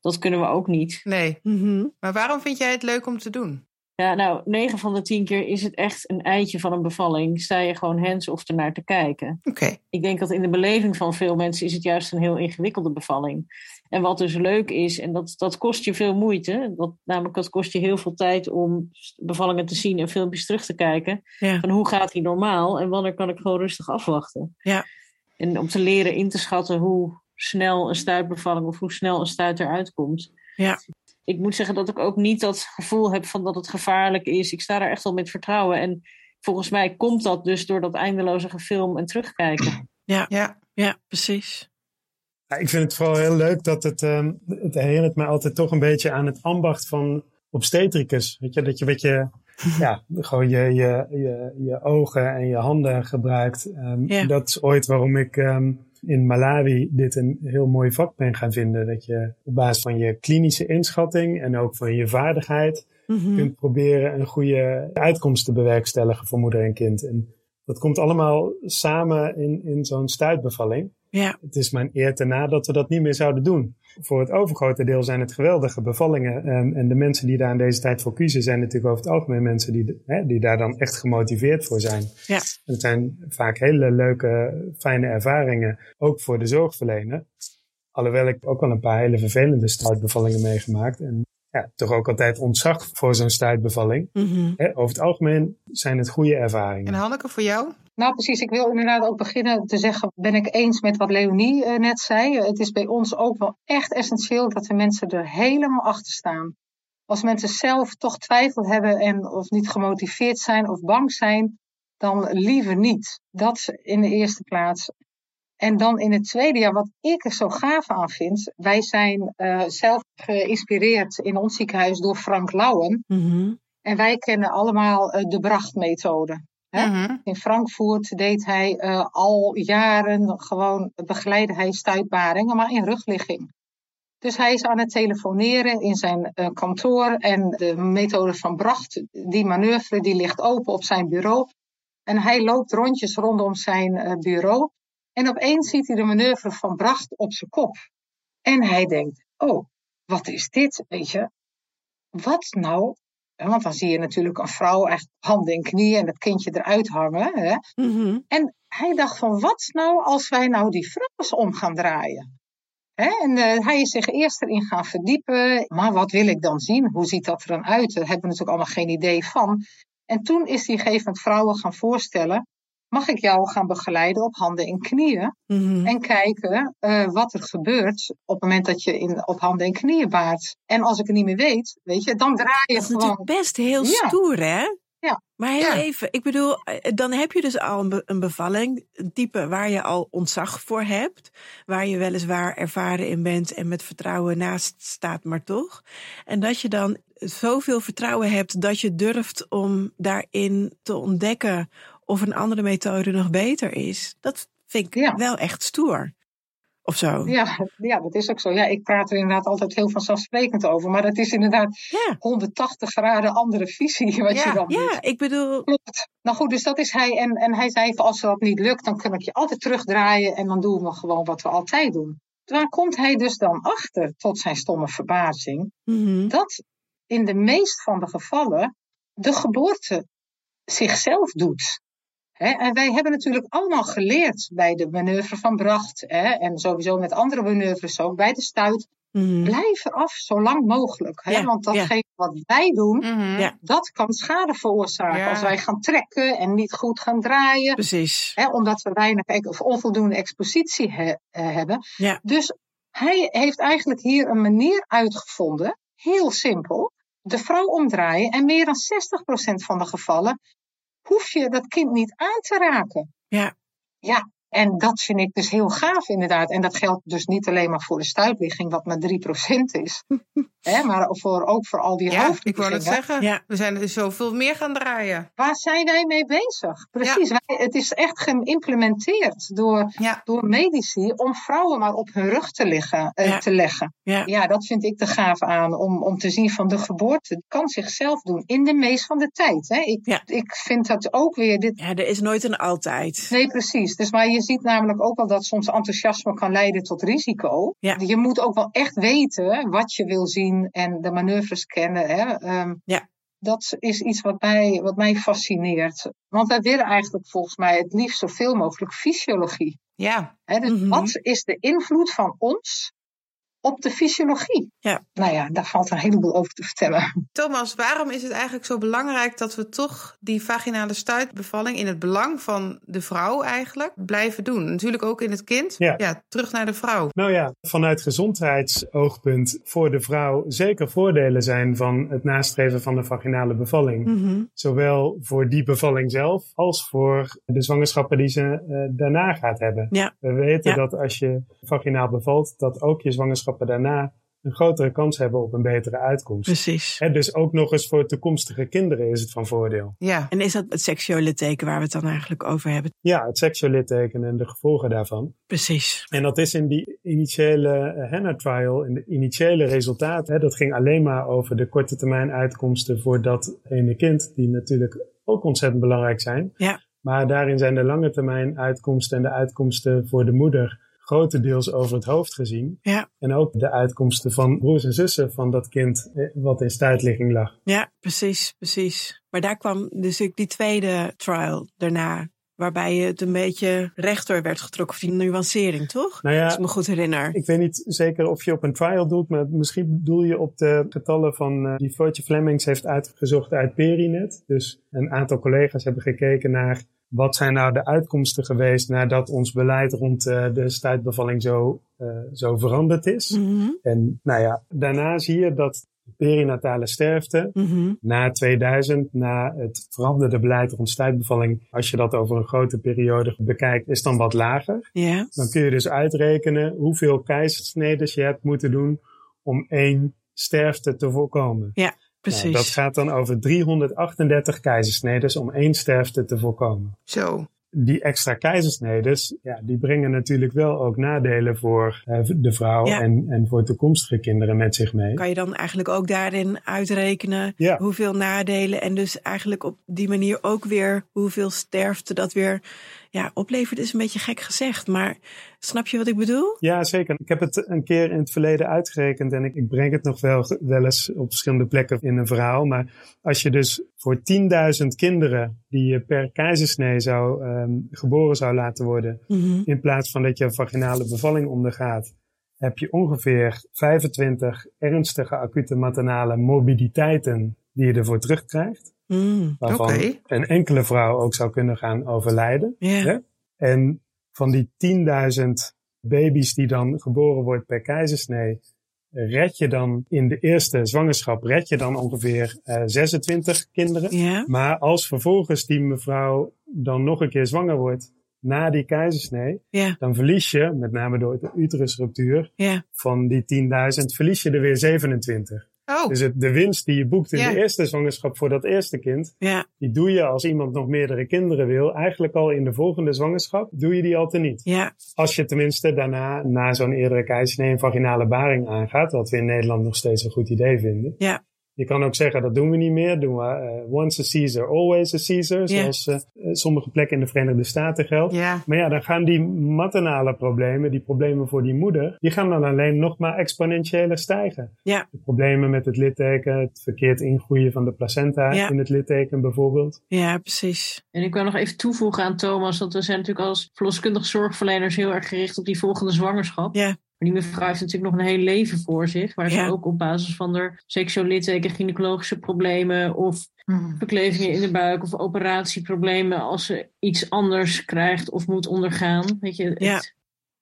dat kunnen we ook niet.
Nee.
Mhm.
Maar waarom vind jij het leuk om te doen?
Ja, nou, 9 van de 10 keer is het echt een eitje van een bevalling. Sta je gewoon hands-off ernaar te kijken.
Oké.
ik denk dat in de beleving van veel mensen is het juist een heel ingewikkelde bevalling. En wat dus leuk is, en dat, dat kost je veel moeite. Dat, namelijk, dat kost je heel veel tijd om bevallingen te zien en filmpjes terug te kijken.
Ja.
Van hoe gaat die normaal en wanneer kan ik gewoon rustig afwachten.
Ja.
En om te leren in te schatten hoe snel een stuitbevalling of hoe snel een stuit eruit komt.
Ja.
Ik moet zeggen dat ik ook niet dat gevoel heb van dat het gevaarlijk is. Ik sta daar echt al met vertrouwen. En volgens mij komt dat dus door dat eindeloze gefilm en terugkijken.
Ja.
Ja, precies.
Ja, ik vind het vooral heel leuk dat het, ehm, het herinnert mij altijd toch een beetje aan het ambacht van obstetricus. Weet je, dat je, weet je, ja, gewoon je, je, je, je ogen en je handen gebruikt. Ehm,
Ja.
Dat is ooit waarom ik ehm, in Malawi dit een heel mooi vak ben gaan vinden. Dat je op basis van je klinische inschatting en ook van je vaardigheid
Mhm.
kunt proberen een goede uitkomst te bewerkstelligen voor moeder en kind. En dat komt allemaal samen in, in zo'n stuitbevalling.
Ja,
Het is mijn eer ten na dat we dat niet meer zouden doen. Voor het overgrote deel zijn het geweldige bevallingen. ehm, En, en de mensen die daar in deze tijd voor kiezen, zijn natuurlijk over het algemeen mensen die, de- hè, die daar dan echt gemotiveerd voor zijn.
Ja.
En het zijn vaak hele leuke, fijne ervaringen, ook voor de zorgverlener. Alhoewel ik ook wel een paar hele vervelende stuitbevallingen meegemaakt. En ja, toch ook altijd ontzag voor zo'n stuitbevalling.
Mhm.
Hè, over het algemeen zijn het goede
En
ervaringen.
Hanneke, voor jou?
Nou, precies. Ik wil inderdaad ook beginnen te zeggen, ben ik eens met wat Leonie eh, net zei. Eh, Het is bij ons ook wel echt essentieel dat de mensen er helemaal achter staan. Als mensen zelf toch twijfel hebben en of niet gemotiveerd zijn of bang zijn, dan liever niet. Dat in de eerste plaats. En dan in het tweede jaar, wat ik er zo gaaf aan vind, wij zijn eh, zelf geïnspireerd in ons ziekenhuis door Frank Lauwen.
Mhm.
En wij kennen allemaal eh, de brachtmethode. Hè? In Frankfurt deed hij eh, al jaren gewoon begeleidde hij stuitbaringen, maar in rugligging. Dus hij is aan het telefoneren in zijn eh, kantoor en de methode van Bracht, die manoeuvre, die ligt open op zijn bureau. En hij loopt rondjes rondom zijn eh, bureau en opeens ziet hij de manoeuvre van Bracht op zijn kop. En hij denkt, oh, wat is dit, weet je? Wat nou? Hè, Want dan zie je natuurlijk een vrouw echt handen en knieën en dat kindje eruit hangen. Hè?
Mhm.
En hij dacht van, wat nou als wij nou die vrouw eens om gaan draaien? Hè? En eh, hij is zich eerst erin gaan verdiepen. Maar wat wil ik dan zien? Hoe ziet dat er dan uit? Daar hebben we natuurlijk allemaal geen idee van. En toen is hij een gegeven moment vrouwen gaan voorstellen. Mag ik jou gaan begeleiden op handen en knieën?
Mhm.
En kijken eh, wat er gebeurt op het moment dat je in, op handen en knieën baart. En als ik het niet meer weet, weet je, dan draai je
Dat is
gewoon.
natuurlijk best heel
Ja.
stoer, hè?
Ja.
Maar heel
Ja.
even, ik bedoel, eh, dan heb je dus al een, be- een bevalling, een type waar je al ontzag voor hebt, waar je weliswaar ervaren in bent en met vertrouwen naast staat, maar toch. En dat je dan zoveel vertrouwen hebt dat je durft om daarin te ontdekken of een andere methode nog beter is. Dat vind ik
Ja.
wel echt stoer. Of zo. Ja.
Ja, ja, dat is ook zo. Ja, ik praat er inderdaad altijd heel vanzelfsprekend over. Maar het is inderdaad
Ja.
180 graden andere visie wat
Ja,
je dan doet.
ik bedoel,
Klopt. Nou goed, dus dat is hij. En, en hij zei van als dat niet lukt, dan kan ik je altijd terugdraaien. En dan doen we gewoon wat we altijd doen. Waar komt hij dus dan achter, tot zijn stomme verbazing?
mhm.
dat in de meest van de gevallen de geboorte zichzelf doet. Hè, en wij hebben natuurlijk allemaal geleerd bij de manoeuvre van Bracht hè, en sowieso met andere manoeuvres ook bij de stuit.
Mhm.
Blijf eraf zo lang mogelijk. Hè,
Ja,
want
ja.
datgene wat wij doen,
Mhm.
Ja.
dat kan schade veroorzaken.
Ja.
Als wij gaan trekken en niet goed gaan draaien,
precies.
Hè, omdat we weinig ex- of onvoldoende expositie he- eh, hebben.
Ja.
Dus hij heeft eigenlijk hier een manier uitgevonden, heel simpel, de vrouw omdraaien. En meer dan 60% van de gevallen hoef je dat kind niet aan te raken.
Ja.
Ja, en dat vind ik dus heel gaaf inderdaad. En dat geldt dus niet alleen maar voor de stuitligging, wat maar 3% is. hè, maar voor, ook voor al die
Ja, ik wou het
hoofdliggingen.
zeggen.
Ja.
We zijn er zoveel meer gaan draaien.
Waar zijn wij mee bezig? Precies, wij- het is echt geïmplementeerd door
Ja.
door medici om vrouwen maar op hun rug te, liggen, eh,
Ja.
te leggen.
Ja.
Ja, dat vind ik de gaaf aan, om, om te zien van de geboorte kan zichzelf doen in de meest van de tijd. Hè. Ik,
Ja.
ik vind dat ook weer dit.
Ja, er is nooit een altijd.
Nee, precies. Dus, maar je ziet namelijk ook wel dat soms enthousiasme kan leiden tot risico.
Ja.
Je moet ook wel echt weten wat je wil zien en de manoeuvres kennen. Hè. Ehm,
Ja.
Dat is iets wat mij, wat mij fascineert. Want wij willen eigenlijk volgens mij het liefst zoveel mogelijk fysiologie.
Ja.
Hè, dus
Mhm.
wat is de invloed van ons op de fysiologie?
Ja.
Nou ja, daar valt een heleboel over te vertellen.
Thomas, waarom is het eigenlijk zo belangrijk dat we toch die vaginale stuitbevalling in het belang van de vrouw eigenlijk blijven doen? Natuurlijk ook in het kind.
Ja.
terug naar de vrouw.
Nou ja, vanuit gezondheidsoogpunt voor de vrouw zeker voordelen zijn van het nastreven van de vaginale bevalling.
Mhm.
Zowel voor die bevalling zelf als voor de zwangerschappen die ze eh, daarna gaat hebben.
Ja.
We weten
Ja.
dat als je vaginaal bevalt, dat ook je zwangerschappen daarna een grotere kans hebben op een betere uitkomst.
Precies.
Hè, dus ook nog eens voor toekomstige kinderen is het van voordeel.
Ja.
En is dat het seksuele teken waar we het dan eigenlijk over hebben?
Ja, het seksueel litteken en de gevolgen daarvan.
Precies.
En dat is in die initiële eh, HANA-trial, in de initiële resultaten, hè, dat ging alleen maar over de korte termijn uitkomsten voor dat ene kind, die natuurlijk ook ontzettend belangrijk zijn.
Ja.
Maar daarin zijn de lange termijn uitkomsten en de uitkomsten voor de moeder grotendeels over het hoofd gezien.
Ja.
En ook de uitkomsten van broers en zussen van dat kind eh, wat in stuitligging lag.
Ja, precies, precies. Maar daar kwam dus ook die tweede trial daarna, waarbij het een beetje rechter werd getrokken, of die nuancering, toch?
Nou ja,
Als ik me goed herinner.
Ik weet niet zeker of je op een trial doet, maar misschien bedoel je op de getallen van eh, die Floortje Flemings heeft uitgezocht uit Perinet. Dus een aantal collega's hebben gekeken naar wat zijn nou de uitkomsten geweest nadat ons beleid rond eh, de stuitbevalling zo, eh, zo veranderd is.
Mhm,
En nou ja, daarna zie je dat perinatale sterfte
mhm.
na 2000, na het veranderde beleid rond stuitbevalling, als je dat over een grote periode bekijkt, is dan wat lager.
Ja,
Dan kun je dus uitrekenen hoeveel keizersneden je hebt moeten doen om één sterfte te voorkomen.
Ja. Precies.
Nou, dat gaat dan over 338 keizersnedes om één sterfte te voorkomen.
Zo.
Die extra keizersnedes, ja, die brengen natuurlijk wel ook nadelen voor eh, de vrouw
Ja.
en, en voor toekomstige kinderen met zich mee.
Kan je dan eigenlijk ook daarin uitrekenen
Ja.
hoeveel nadelen en dus eigenlijk op die manier ook weer hoeveel sterfte dat weer ja, oplevert is een beetje gek gezegd, maar snap je wat ik bedoel?
Ja, zeker. Ik heb het een keer in het verleden uitgerekend en ik, ik breng het nog wel, wel eens op verschillende plekken in een verhaal. Maar als je dus voor 10.000 kinderen die je per keizersnee zou, ehm, geboren zou laten worden,
Mhm.
in plaats van dat je een vaginale bevalling ondergaat, heb je ongeveer 25 ernstige acute maternale morbiditeiten die je ervoor terugkrijgt.
Mm,
Waarvan
Oké.
een enkele vrouw ook zou kunnen gaan overlijden.
ja.
Ja. En van die 10.000 baby's die dan geboren wordt per keizersnee, red je dan in de eerste zwangerschap, red je dan ongeveer eh, 26 kinderen.
Ja.
Maar als vervolgens die mevrouw dan nog een keer zwanger wordt na die keizersnee,
Ja.
dan verlies je, met name door de uterusruptuur,
Ja.
van die 10.000 verlies je er weer 27.
Oh,
Dus het, de winst die je boekt in
Ja.
de eerste zwangerschap voor dat eerste kind,
Ja.
die doe je als iemand nog meerdere kinderen wil, eigenlijk al in de volgende zwangerschap, doe je die al teniet.
Ja.
Als je tenminste daarna, na zo'n eerdere keizersnee, een vaginale baring aangaat, wat we in Nederland nog steeds een goed idee vinden.
Ja.
Je kan ook zeggen, dat doen we niet meer. Doen we eh, once a Caesar, always a Caesar, zoals eh, sommige plekken in de Verenigde Staten geldt.
ja.
Maar ja, dan gaan die maternale problemen, die problemen voor die moeder, die gaan dan alleen nog maar exponentiëler stijgen.
Ja.
De problemen met het litteken, het verkeerd ingroeien van de placenta
Ja.
in het litteken bijvoorbeeld.
Ja, precies.
En ik wil nog even toevoegen aan Thomas, dat we zijn natuurlijk als verloskundige zorgverleners heel erg gericht op die volgende zwangerschap.
Ja.
Maar die mevrouw heeft natuurlijk nog een heel leven voor zich, waar
Ja.
ze ook op basis van haar seksueel litteken, gynaecologische problemen of
Mhm.
beklevingen in de buik of operatieproblemen als ze iets anders krijgt of moet ondergaan. Weet je, het-
Ja.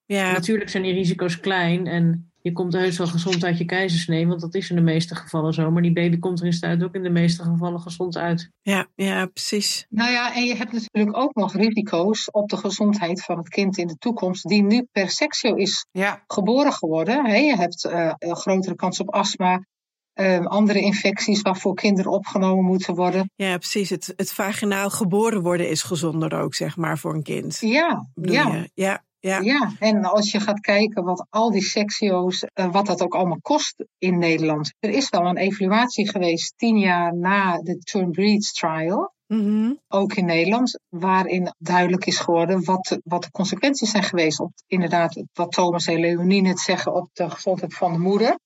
Ja,
natuurlijk zijn die risico's klein en je komt heus wel gezond uit je keizersnee, want dat is in de meeste gevallen zo. Maar die baby komt er in staat ook in de meeste gevallen gezond uit.
ja, ja, precies.
Nou ja, en je hebt natuurlijk ook nog risico's op de gezondheid van het kind in de toekomst, die nu per seksio is
Ja.
geboren geworden. Hè? Je hebt eh, een grotere kans op astma, eh, andere infecties waarvoor kinderen opgenomen moeten worden.
Ja, precies. Het, het vaginaal geboren worden is gezonder ook, zeg maar, voor een kind.
Ja,
Bedoel
ja.
je? Ja, ja,
Ja, en als je gaat kijken wat al die sectio's, eh, wat dat ook allemaal kost in Nederland. Er is wel een evaluatie geweest tien jaar na de Turn Breeds trial,
Mhm.
ook in Nederland, waarin duidelijk is geworden wat, de- wat de consequenties zijn geweest. Op, inderdaad, wat Thomas en Leonie net zeggen, op de gezondheid van de moeder.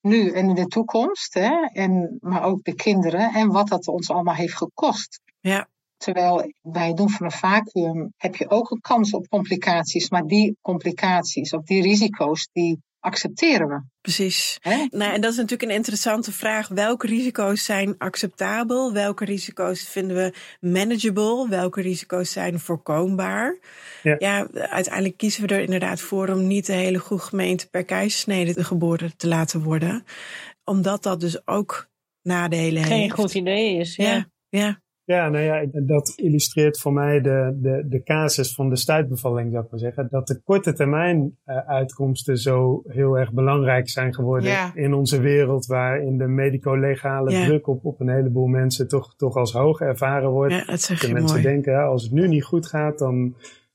Nu en in de toekomst, hè, en, maar ook de kinderen en wat dat ons allemaal heeft gekost.
Ja.
Terwijl bij het doen van een vacuüm heb je ook een kans op complicaties, maar die complicaties, op die risico's, die accepteren we.
precies.
Hè?
Nou, en dat is natuurlijk een interessante vraag. Welke risico's zijn acceptabel? Welke risico's vinden we manageable? Welke risico's zijn voorkombaar?
Ja.
uiteindelijk kiezen we er inderdaad voor om niet de hele goede gemeente per keizersnede geboren te laten worden. Omdat dat dus ook nadelen
Geen
heeft.
goed idee is. ja.
Ja, ja,
Ja, nou ja, ik- dat illustreert voor mij de, de, de casus van de stuitbevalling, zou ik maar zeggen. Dat de korte termijn eh, uitkomsten zo heel erg belangrijk zijn geworden
Ja.
in onze wereld, waarin de medico-legale
Ja.
druk op, op een heleboel mensen toch, toch als hoog ervaren wordt.
ja, dat zeg
De
je
mensen
mooi.
denken, ja, als het nu niet goed gaat, dan,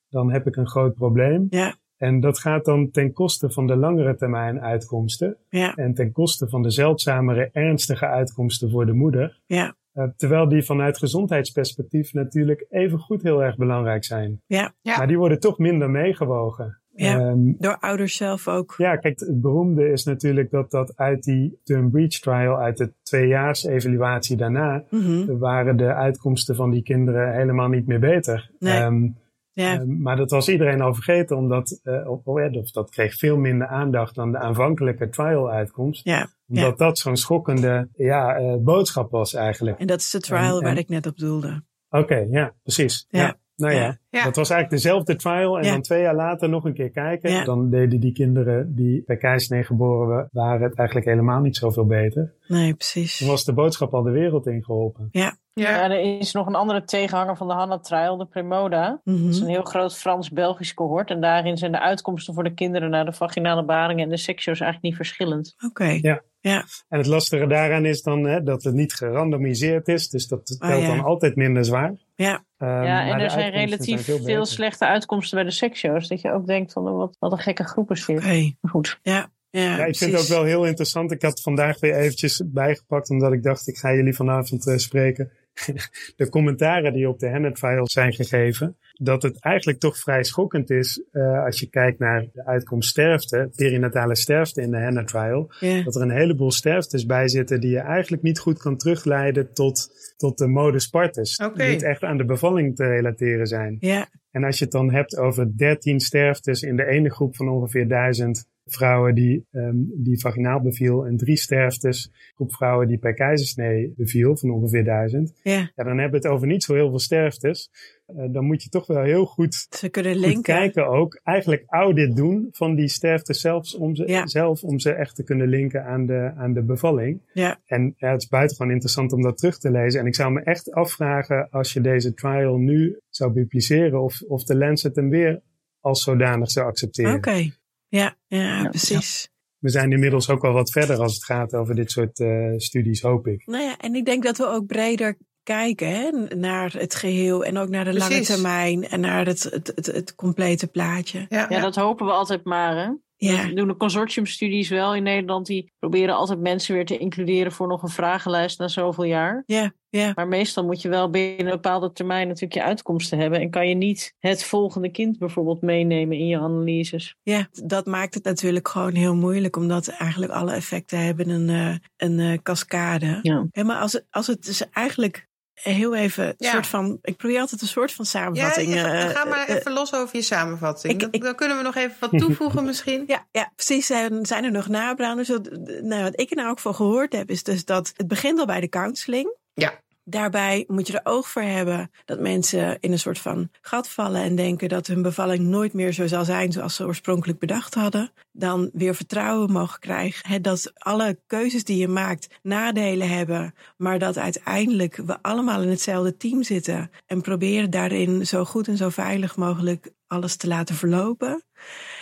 dan heb ik een groot probleem.
Ja,
En dat gaat dan ten koste van de langere termijn uitkomsten
ja,
en ten koste van de zeldzamere, ernstige uitkomsten voor de moeder.
ja,
Eh, terwijl die vanuit gezondheidsperspectief natuurlijk evengoed heel erg belangrijk zijn.
ja.
Ja.
Maar die worden toch minder meegewogen.
Ja.
Ehm,
Door ouders zelf ook.
ja, kijk, het beroemde is natuurlijk dat dat uit die Turn Breach Trial, uit de tweejaars evaluatie daarna,
Mhm,
waren de uitkomsten van die kinderen helemaal niet meer beter.
Nee.
Ehm,
ja.
ehm, maar dat was iedereen al vergeten, omdat eh, of- of, eh, of dat kreeg veel minder aandacht dan de aanvankelijke trial-uitkomst.
ja.
Omdat dat zo'n schokkende ja, eh, boodschap was eigenlijk.
En dat is de trial
En-
waar
en-
ik net op doelde.
Oké, ja, precies.
Ja.
Ja. Nou ja.
Ja.
Ja.
dat was eigenlijk dezelfde trial. En
Ja.
dan twee jaar later nog een keer kijken.
Ja.
Dan deden die kinderen die bij keizersnee geboren wa- waren het eigenlijk helemaal niet zoveel beter.
Nee, precies.
Toen was de boodschap al de wereld ingeholpen.
Ja.
Ja, er is nog een andere tegenhanger van de Hannah Trial, de Premoda.
Mhm.
Dat is een heel groot Frans-Belgisch cohort. En daarin zijn de uitkomsten voor de kinderen na de vaginale baringen en de seksio's eigenlijk niet verschillend.
Oké.
Ja.
Ja.
En het lastige daaraan is dan hè, dat het niet gerandomiseerd is. Dus dat
Oh,
telt
ja.
dan altijd minder zwaar.
Ja.
Ehm,
ja,
maar
en
de
er zijn
uitkomsten
relatief
zijn
veel,
beter.
slechte uitkomsten bij de seksshows. Dat je ook denkt van oh, wat, wat een gekke groepen zit.
Oké.
Maar Goed.
Ja. Ja,
Ja, ik vind het ook
precies.
wel heel interessant. Ik had vandaag weer eventjes bijgepakt, omdat ik dacht, ik ga jullie vanavond eh, spreken. de commentaren die op de Hennep-file zijn gegeven, dat het eigenlijk toch vrij schokkend is eh, als je kijkt naar de uitkomst sterfte, perinatale sterfte in de Hennep-file.
Ja.
Dat er een heleboel sterftes bij zitten die je eigenlijk niet goed kan terugleiden tot, tot de modus partus.
Oké.
Die niet echt aan de bevalling te relateren zijn.
Ja.
En als je het dan hebt over 13 sterftes in de ene groep van ongeveer 1000 vrouwen die, ehm, die vaginaal beviel en drie sterftes, groep vrouwen die per keizersnee beviel van ongeveer 1000,
ja.
ja, dan hebben we het over niet zo heel veel sterftes. Eh, dan moet je toch wel heel goed,
Ze kunnen
goed
linken.
kijken ook, eigenlijk audit doen van die sterftes zelfs om ze,
Ja.
zelf om ze echt te kunnen linken aan de, aan de bevalling.
Ja.
En ja, het is buitengewoon interessant om dat terug te lezen. En ik zou me echt afvragen als je deze trial nu zou publiceren, of, of de Lancet hem weer als zodanig zou accepteren.
Oké. Ja, ja,
Ja.
precies.
We zijn inmiddels ook wel wat verder als het gaat over dit soort eh, studies, hoop ik.
Nou ja, en ik denk dat we ook breder kijken hè, naar het geheel en ook naar de lange
Precies.
termijn en naar het, het, het, het complete plaatje.
Ja,
Ja, dat hopen we altijd maar. Hè?
Ja,
We doen de consortiumstudies wel in Nederland. Die proberen altijd mensen weer te includeren voor nog een vragenlijst na zoveel jaar.
ja, ja.
Maar meestal moet je wel binnen een bepaalde termijn natuurlijk je uitkomsten hebben. En kan je niet het volgende kind bijvoorbeeld meenemen in je analyses.
Ja, dat maakt het natuurlijk gewoon heel moeilijk, omdat eigenlijk alle effecten hebben een, eh, een eh, cascade.
Ja.
Hè, maar als, het- als het dus eigenlijk heel even een
Ja.
soort van, ik probeer altijd een soort van samenvatting.
Ja, je-
eh,
ga maar
eh,
even los over je samenvatting.
ik-
Dan-
ik-
dan kunnen we nog even wat toevoegen misschien.
Ja, ja, precies. Zijn, zijn er nog nabranders? Wat- Nou, wat ik er nou ook van gehoord heb, is dus dat het begint al bij de counseling.
Ja.
Daarbij moet je er oog voor hebben dat mensen in een soort van gat vallen en denken dat hun bevalling nooit meer zo zal zijn zoals ze oorspronkelijk bedacht hadden. Dan weer vertrouwen mogen krijgen. Hè, dat alle keuzes die je maakt nadelen hebben, maar dat uiteindelijk we allemaal in hetzelfde team zitten en proberen daarin zo goed en zo veilig mogelijk alles te laten verlopen.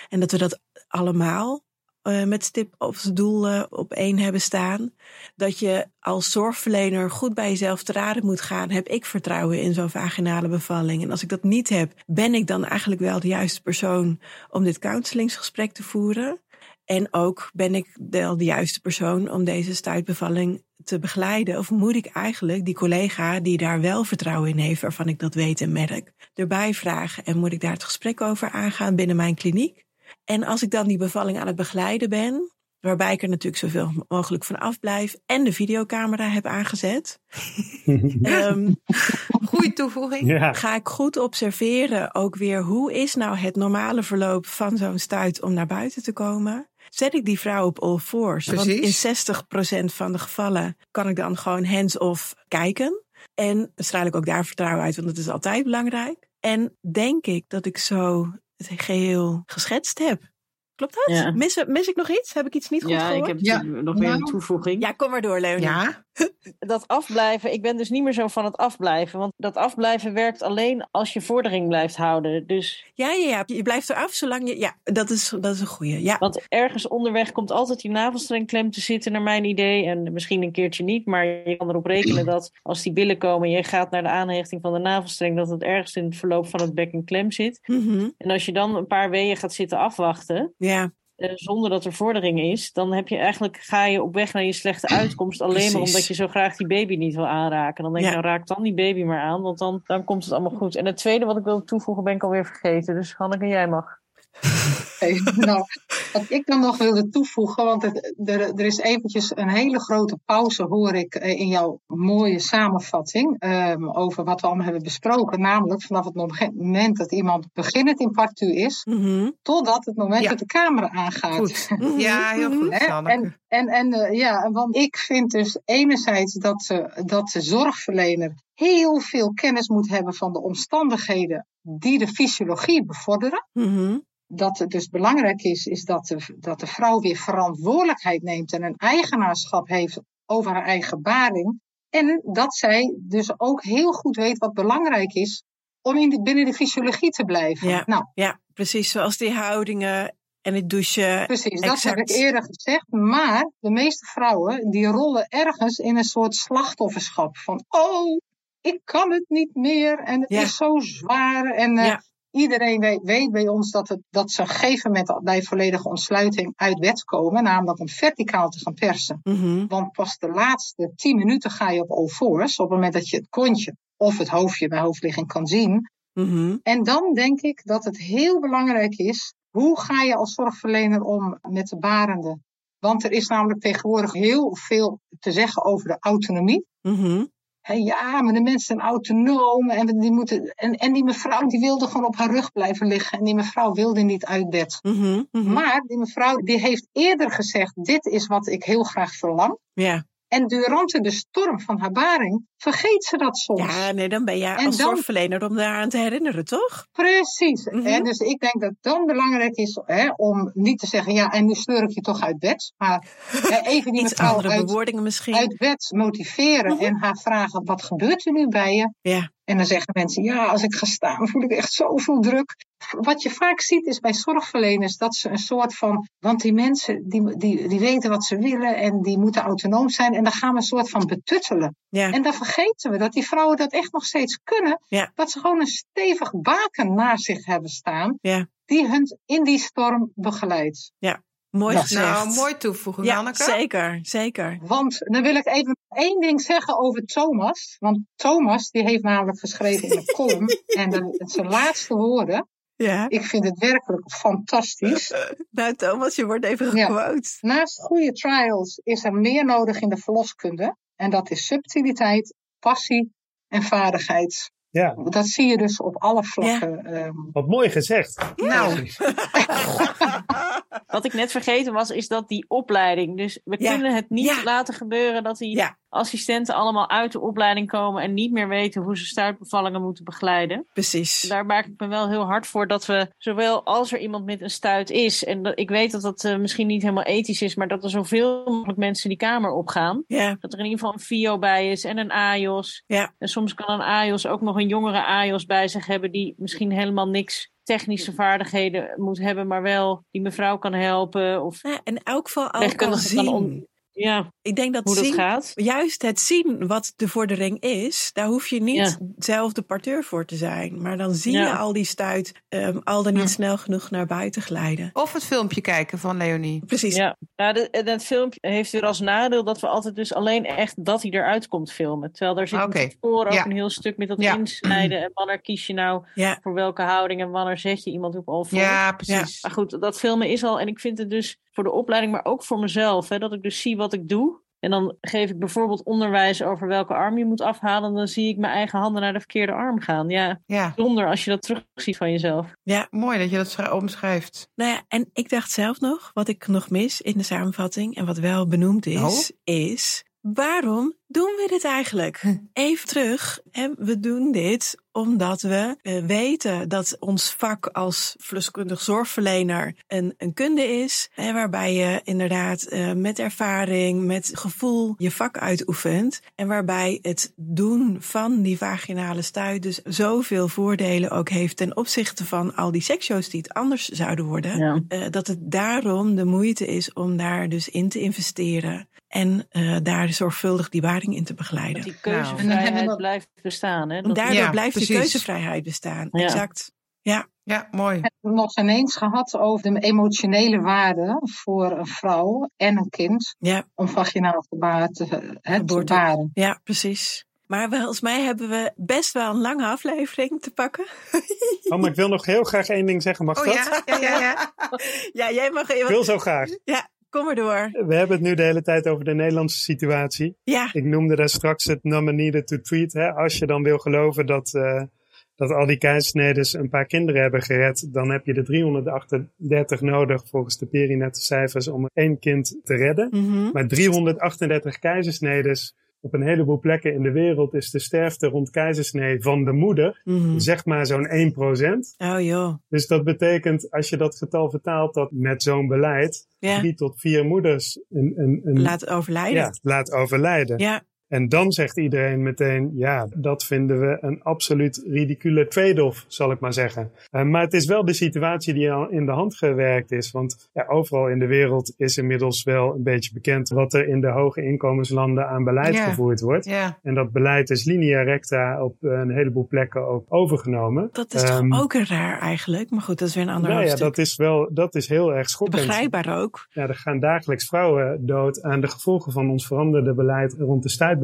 En dat we dat allemaal eh, met stip op z'n doel eh, op één hebben staan. Dat je als zorgverlener goed bij jezelf te raden moet gaan. Heb ik vertrouwen in zo'n vaginale bevalling? En als ik dat niet heb, ben ik dan eigenlijk wel de juiste persoon om dit counselingsgesprek te voeren? En ook ben ik wel de juiste persoon om deze stuitbevalling te begeleiden? Of moet ik eigenlijk die collega die daar wel vertrouwen in heeft, waarvan ik dat weet en merk, erbij vragen? En moet ik daar het gesprek over aangaan binnen mijn kliniek? En als ik dan die bevalling aan het begeleiden ben, waarbij ik er natuurlijk zoveel mogelijk van afblijf en de videocamera heb aangezet, ehm,
Goede toevoeging.
ja,
ga ik goed observeren ook weer hoe is nou het normale verloop van zo'n stuit om naar buiten te komen. Zet ik die vrouw op all fours?
Precies.
Want in 60% van de gevallen kan ik dan gewoon hands-off kijken. En straal ik ook daar vertrouwen uit, want dat is altijd belangrijk. En denk ik dat ik zo het geheel geschetst heb. Klopt dat?
Ja.
Mis, mis ik nog iets? Heb ik iets niet goed
Ja,
gehoord?
ik heb
Ja.
nog weer een toevoeging.
Ja, kom maar door, Leonie.
Ja,
dat afblijven, ik ben dus niet meer zo van het afblijven. Want dat afblijven werkt alleen als je vordering blijft houden. Dus,
ja, ja, ja. Je blijft eraf zolang je... Ja, dat is, dat is een goeie. Ja,
want ergens onderweg komt altijd die navelstreng klem te zitten, naar mijn idee. En misschien een keertje niet, maar je kan erop rekenen dat als die billen komen en je gaat naar de aanhechting van de navelstreng, dat het ergens in het verloop van het bekken klem zit.
Mhm.
En als je dan een paar weeën gaat zitten afwachten,
ja
eh, zonder dat er vordering is, dan heb je eigenlijk, ga je op weg naar je slechte uitkomst. Alleen maar
Precies.
omdat je zo graag die baby niet wil aanraken. Dan denk je,
Ja.
nou raak dan die baby maar aan, want dan, dan komt het allemaal goed. En het tweede wat ik wil toevoegen, ben ik alweer vergeten. Dus Hanneke, jij mag.
Oké, nou, wat ik dan nog wilde toevoegen, want het, er, er is eventjes een hele grote pauze, hoor ik, eh, in jouw mooie samenvatting ehm, over wat we allemaal hebben besproken. Namelijk vanaf het moment dat iemand beginnend in partu is,
Mhm.
totdat het moment
Ja.
dat de camera aangaat.
goed. Ja, heel goed,
Hè,
Hanneke.
En, en, en eh, ja, want ik vind dus enerzijds dat, ze, dat de zorgverlener heel veel kennis moet hebben van de omstandigheden die de fysiologie bevorderen
Mhm.
dat het dus belangrijk is, is dat de, dat de vrouw weer verantwoordelijkheid neemt en een eigenaarschap heeft over haar eigen baring. En dat zij dus ook heel goed weet wat belangrijk is om in de, binnen de fysiologie te blijven. Nou,
Ja, precies. Zoals die houdingen en het douchen.
Precies, dat
Exact.
heb ik eerder gezegd. Maar de meeste vrouwen die rollen ergens in een soort slachtofferschap. Van, oh, ik kan het niet meer en het
Ja.
is zo zwaar. En eh,
Ja.
iedereen weet, weet bij ons dat, het, dat ze op een gegeven moment bij volledige ontsluiting uit bed komen. Namelijk om verticaal te gaan persen.
Mhm.
Want pas de laatste 10 minuten ga je op all fours. Op het moment dat je het kontje of het hoofdje bij hoofdligging kan zien.
Mhm.
En dan denk ik dat het heel belangrijk is, hoe ga je als zorgverlener om met de barende? Want er is namelijk tegenwoordig heel veel te zeggen over de autonomie.
Mhm.
Hè, ja, maar de mensen zijn autonoom en, die moeten, en, en die mevrouw die wilde gewoon op haar rug blijven liggen en die mevrouw wilde niet uit bed.
Mhm. Mhm.
Maar die mevrouw die heeft eerder gezegd, dit is wat ik heel graag verlang.
Ja.
En durante de storm van haar baring vergeet ze dat soms.
ja, nee, dan ben jij
En
als
dan-
zorgverlener om daaraan te herinneren, toch?
Precies.
Mhm.
En dus ik denk dat het dan belangrijk is hè, om niet te zeggen, ja, en nu sleur ik je toch uit bed. Maar hè, even die
Iets
mevrouw
andere
uit,
bewoordingen misschien.
uit bed motiveren
Mhm.
en haar vragen, wat gebeurt er nu bij je?
Ja.
En dan zeggen mensen, ja, als ik ga staan voel ik echt zoveel druk. Wat je vaak ziet is bij zorgverleners dat ze een soort van, want die mensen die, die, die weten wat ze willen en die moeten autonoom zijn. En dan gaan we een soort van betuttelen.
Ja.
En dan vergeten we dat die vrouwen dat echt nog steeds kunnen.
Ja.
Dat ze gewoon een stevig baken naast zich hebben staan.
Ja.
Die hun in die storm begeleidt.
Mooi
Nou,
gezegd.
Nou, mooi toevoeging,
Ja,
Hanneke.
zeker, zeker.
Want dan wil ik even één ding zeggen over Thomas. Want Thomas die heeft namelijk geschreven in een column. en dan, zijn laatste woorden.
Ja.
Ik vind het werkelijk fantastisch.
Nou, Thomas, je wordt even
Ja.
gequote.
Naast goede trials is er meer nodig in de verloskunde. En dat is subtiliteit, passie en vaardigheid.
Ja,
Dat zie je dus op alle vlakken. ehm,
wat mooi gezegd.
Nou,
Wat ik net vergeten was, is dat die opleiding. Dus we
Ja.
kunnen het niet
Ja.
laten gebeuren dat die
Ja.
assistenten allemaal uit de opleiding komen en niet meer weten hoe ze stuitbevallingen moeten begeleiden.
Precies.
Daar maak ik me wel heel hard voor dat we, zowel als er iemand met een stuit is, en dat, ik weet dat dat eh, misschien niet helemaal ethisch is, maar dat er zoveel mogelijk mensen die kamer opgaan.
Ja,
Dat er in ieder geval een FIO bij is en een AIOS.
Ja.
En soms kan een AIOS ook nog een jongere AIOS bij zich hebben die misschien helemaal niks technische vaardigheden moet hebben, maar wel die mevrouw kan helpen. Of
Nou, in elk geval al kan
Legkundige kan
zien.
om- ja,
Ik denk dat
hoe dat
zien,
gaat.
juist het zien wat de vordering is, daar hoef je niet zelf de parteur voor te zijn. Maar dan zie je
Ja.
al die stuit ehm, al dan niet
Ja.
snel genoeg naar buiten glijden.
of het filmpje kijken van Leonie.
Precies.
Ja, nou, de- en dat filmpje heeft weer als nadeel dat we altijd dus alleen echt dat hij eruit komt filmen. Terwijl daar zit
Oké.
van tevoren
Ja.
ook een heel stuk met dat
Ja.
insnijden. En wanneer kies je nou
Ja.
voor welke houding en wanneer zet je iemand op al voor.
Ja, precies.
Maar goed, dat filmen is al. En ik vind het dus voor de opleiding, maar ook voor mezelf. Hè, dat ik dus zie wat ik doe. En dan geef ik bijvoorbeeld onderwijs over welke arm je moet afhalen. En dan zie ik mijn eigen handen naar de verkeerde arm gaan. Ja,
Ja,
zonder als je dat terugziet van jezelf.
mooi dat je dat schra- omschrijft.
Nou ja, en ik dacht zelf nog, wat ik nog mis in de samenvatting en wat wel benoemd is,
Nou?
Oh.
is waarom doen we dit eigenlijk? Even terug, hè, we doen dit omdat we eh, weten dat ons vak als verloskundig zorgverlener een, een kunde is, hè, waarbij je inderdaad eh, met ervaring, met gevoel je vak uitoefent en waarbij het doen van die vaginale stuit dus zoveel voordelen ook heeft ten opzichte van al die seksshows die het anders zouden worden
Ja.
eh, dat het daarom de moeite is om daar dus in te investeren en eh, daar zorgvuldig die waarding in te
Dat
begeleiden.
die
Nou.
En dan hebben
keuzevrijheid
we-
blijft bestaan. Hè?
En
Dat-
daardoor
Ja,
blijft die
precies.
keuzevrijheid bestaan.
Ja.
Exact.
Ja, mooi.
We hebben het nog ineens gehad over de emotionele waarde voor een vrouw en een kind
Ja.
om vaginaal gebaar te, hè, te
Geboorte.
baren.
Ja, precies. Maar volgens mij hebben we best wel een lange aflevering te pakken.
Oh, maar ik wil nog heel graag één ding zeggen, mag
Oh
dat?
ja, ja, ja, ja.
ja, jij mag
Ik wil zo graag.
Kom maar door.
We hebben het nu de hele tijd over de Nederlandse situatie.
Ja,
Ik noemde daar straks het number needed to treat. Hè? Als je dan wil geloven dat, eh, dat al die keizersnedes een paar kinderen hebben gered, dan heb je de 338 nodig volgens de perinette cijfers om één kind te redden.
Mhm.
Maar 338 keizersnedes op een heleboel plekken in de wereld is de sterfte rond keizersnee van de moeder,
Mhm.
zeg maar zo'n 1%.
oh joh.
Dus dat betekent, als je dat getal vertaalt, dat met zo'n beleid
Ja,
drie tot vier moeders een, een, een,
laat overlijden.
ja, laat overlijden.
Ja,
En dan zegt iedereen meteen, ja, dat vinden we een absoluut ridicule trade-off, zal ik maar zeggen. Uh, maar het is wel de situatie die al in de hand gewerkt is. Want ja, overal in de wereld is inmiddels wel een beetje bekend wat er in de hoge inkomenslanden aan beleid
Ja.
gevoerd wordt.
Ja.
En dat beleid is linea recta op een heleboel plekken ook overgenomen.
Dat is
Ehm,
toch ook raar eigenlijk. Maar goed, dat is weer een ander
nou ja,
hoofdstuk.
dat is wel, dat is heel erg schokkend.
Begrijpbaar ook.
Ja, er gaan dagelijks vrouwen dood aan de gevolgen van ons veranderde beleid rond de stuitbevalling.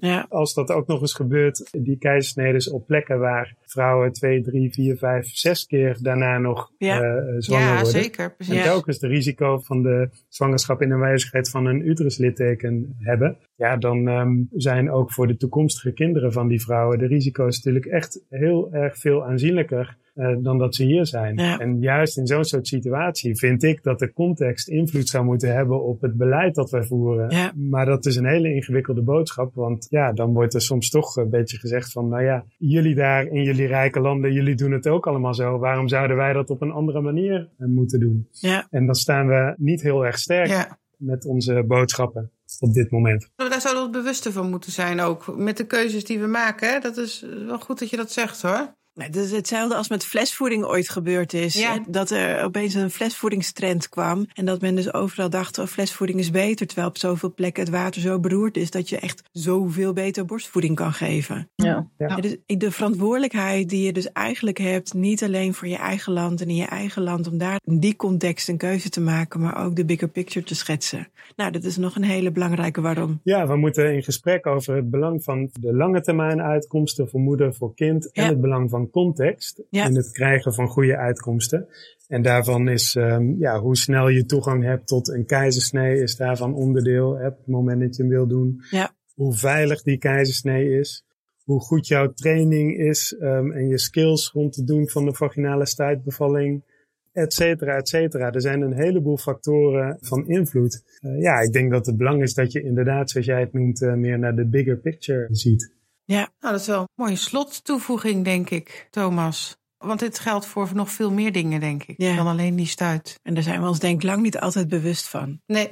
Ja.
Als dat ook nog eens gebeurt, die keizersneden op plekken waar vrouwen twee, drie, vier, vijf, zes keer daarna nog
Ja.
eh, eh, zwanger
Ja,
worden.
zeker. Precies.
En
Ja.
telkens de risico van de zwangerschap in aanwezigheid van een uteruslidteken hebben. Ja, dan ehm, zijn ook voor de toekomstige kinderen van die vrouwen de risico's natuurlijk echt heel erg veel aanzienlijker eh, dan dat ze hier zijn.
Ja.
En juist in zo'n soort situatie vind ik dat de context invloed zou moeten hebben op het beleid dat wij voeren.
Ja.
Maar dat is een hele ingewikkelde boodschap, want ja, dan wordt er soms toch een beetje gezegd van, nou ja, jullie daar in jullie rijke landen, jullie doen het ook allemaal zo. Waarom zouden wij dat op een andere manier eh, moeten doen?
Ja.
En dan staan we niet heel erg sterk
Ja.
met onze boodschappen op dit moment.
Nou, Daar zouden we ons bewuster van moeten zijn ook. Met de keuzes die we maken. hè. Dat is wel goed dat je dat zegt hoor.
Nee, dat is hetzelfde als met flesvoeding ooit gebeurd is.
Ja.
Dat er opeens een flesvoedingstrend kwam. En dat men dus overal dacht, oh, flesvoeding is beter. Terwijl op zoveel plekken het water zo beroerd is... dat je echt zoveel beter borstvoeding kan geven.
Ja.
Ja, dus de verantwoordelijkheid die je dus eigenlijk hebt, niet alleen voor je eigen land en in je eigen land, om daar in die context een keuze te maken, maar ook de bigger picture te schetsen. Nou, dat is nog een hele belangrijke waarom.
Ja, we moeten in gesprek over het belang van de lange termijn uitkomsten voor moeder, voor kind en
Ja.
het belang van context
Ja.
in het krijgen van goede uitkomsten. En daarvan is ehm, ja, hoe snel je toegang hebt tot een keizersnee is daarvan onderdeel. Hè, op het moment dat je hem wil doen.
Ja.
Hoe veilig die keizersnee is. Hoe goed jouw training is ehm, en je skills rond het doen van de vaginale stuitbevalling. et cetera, et cetera. Er zijn een heleboel factoren van invloed. Eh, ja, ik denk dat het belang is dat je inderdaad, zoals jij het noemt, eh, meer naar de bigger picture ziet.
Nou, dat is wel een mooie slottoevoeging, denk ik, Thomas. Want dit geldt voor nog veel meer dingen, denk ik,
Ja.
dan alleen die stuit.
En daar zijn we ons denk ik lang niet altijd bewust van.
Nee.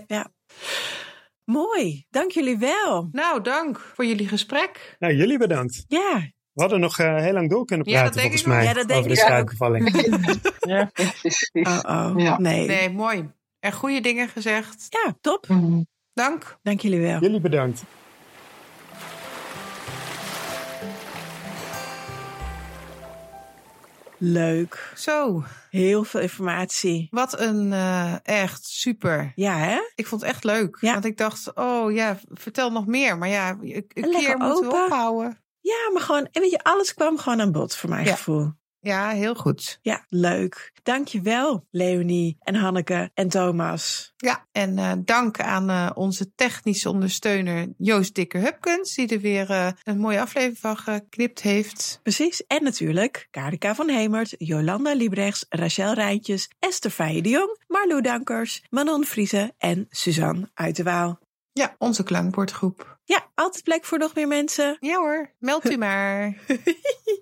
Mooi, dank jullie wel.
Nou, dank voor jullie gesprek.
Nou, jullie bedankt.
Ja,
We hadden nog eh, heel lang door kunnen
Ja, dat
praten,
denk
volgens
ik ook.
mij,
Ja, dat denk
over de
ik ook.
stuitbevalling.
Ja.
Precies.
oh oh,
Ja.
nee.
Nee, mooi. Er goede dingen gezegd.
Ja, top.
Mhm.
Dank.
Dank jullie wel.
Jullie bedankt.
Leuk.
Zo,
Heel veel informatie.
wat een eh, echt super.
Ja, hè?
Ik vond het echt leuk.
Ja.
Want ik dacht, oh ja, vertel nog meer. Maar ja, een een
lekker
keer moeten we
open.
ophouden.
Ja, maar gewoon, en weet je, alles kwam gewoon aan bod voor mijn
Ja.
gevoel.
Ja, heel goed.
Ja, leuk. Dankjewel, Leonie en Hanneke en Thomas.
Ja, en eh, dank aan eh, onze technische ondersteuner Joost Dikker-Hupkens, die er weer eh, een mooie aflevering van geknipt heeft.
Precies. En natuurlijk Karika van Hemert, Jolanda Liebrechts, Rachel Rijntjes, Esther Feijen de Jong, Marlo Dankers, Manon Vriezen en Suzanne Uit de Waal.
Ja, onze klankbordgroep.
Ja, altijd plek voor nog meer mensen.
Ja hoor, meld u maar.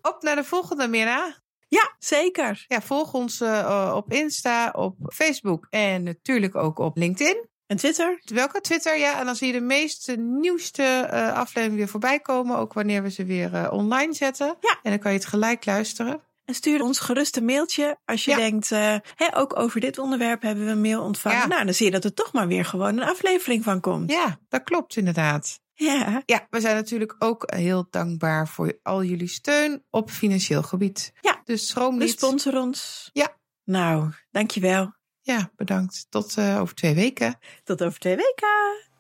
Op naar de volgende, Mira.
Ja, zeker.
Ja, volg ons eh, eh, op Insta, op Facebook en natuurlijk ook op LinkedIn.
En Twitter?
Welke Twitter, ja. En dan zie je de meeste nieuwste eh afleveringen weer voorbij komen. Ook wanneer we ze weer eh, online zetten.
Ja.
En dan kan je het gelijk luisteren.
En stuur ons gerust een mailtje als je
Ja.
denkt, eh, hè, ook over dit onderwerp hebben we een mail ontvangen.
Ja.
Nou, dan zie je dat er toch maar weer gewoon een aflevering van komt.
Ja, dat klopt inderdaad.
ja.
Ja, we zijn natuurlijk ook heel dankbaar voor al jullie steun op financieel gebied.
Ja.
Dus schroom
Dus
niet.
sponsor ons.
Ja.
Nou, dankjewel.
Ja, bedankt. Tot eh, over twee weken.
Tot over twee weken.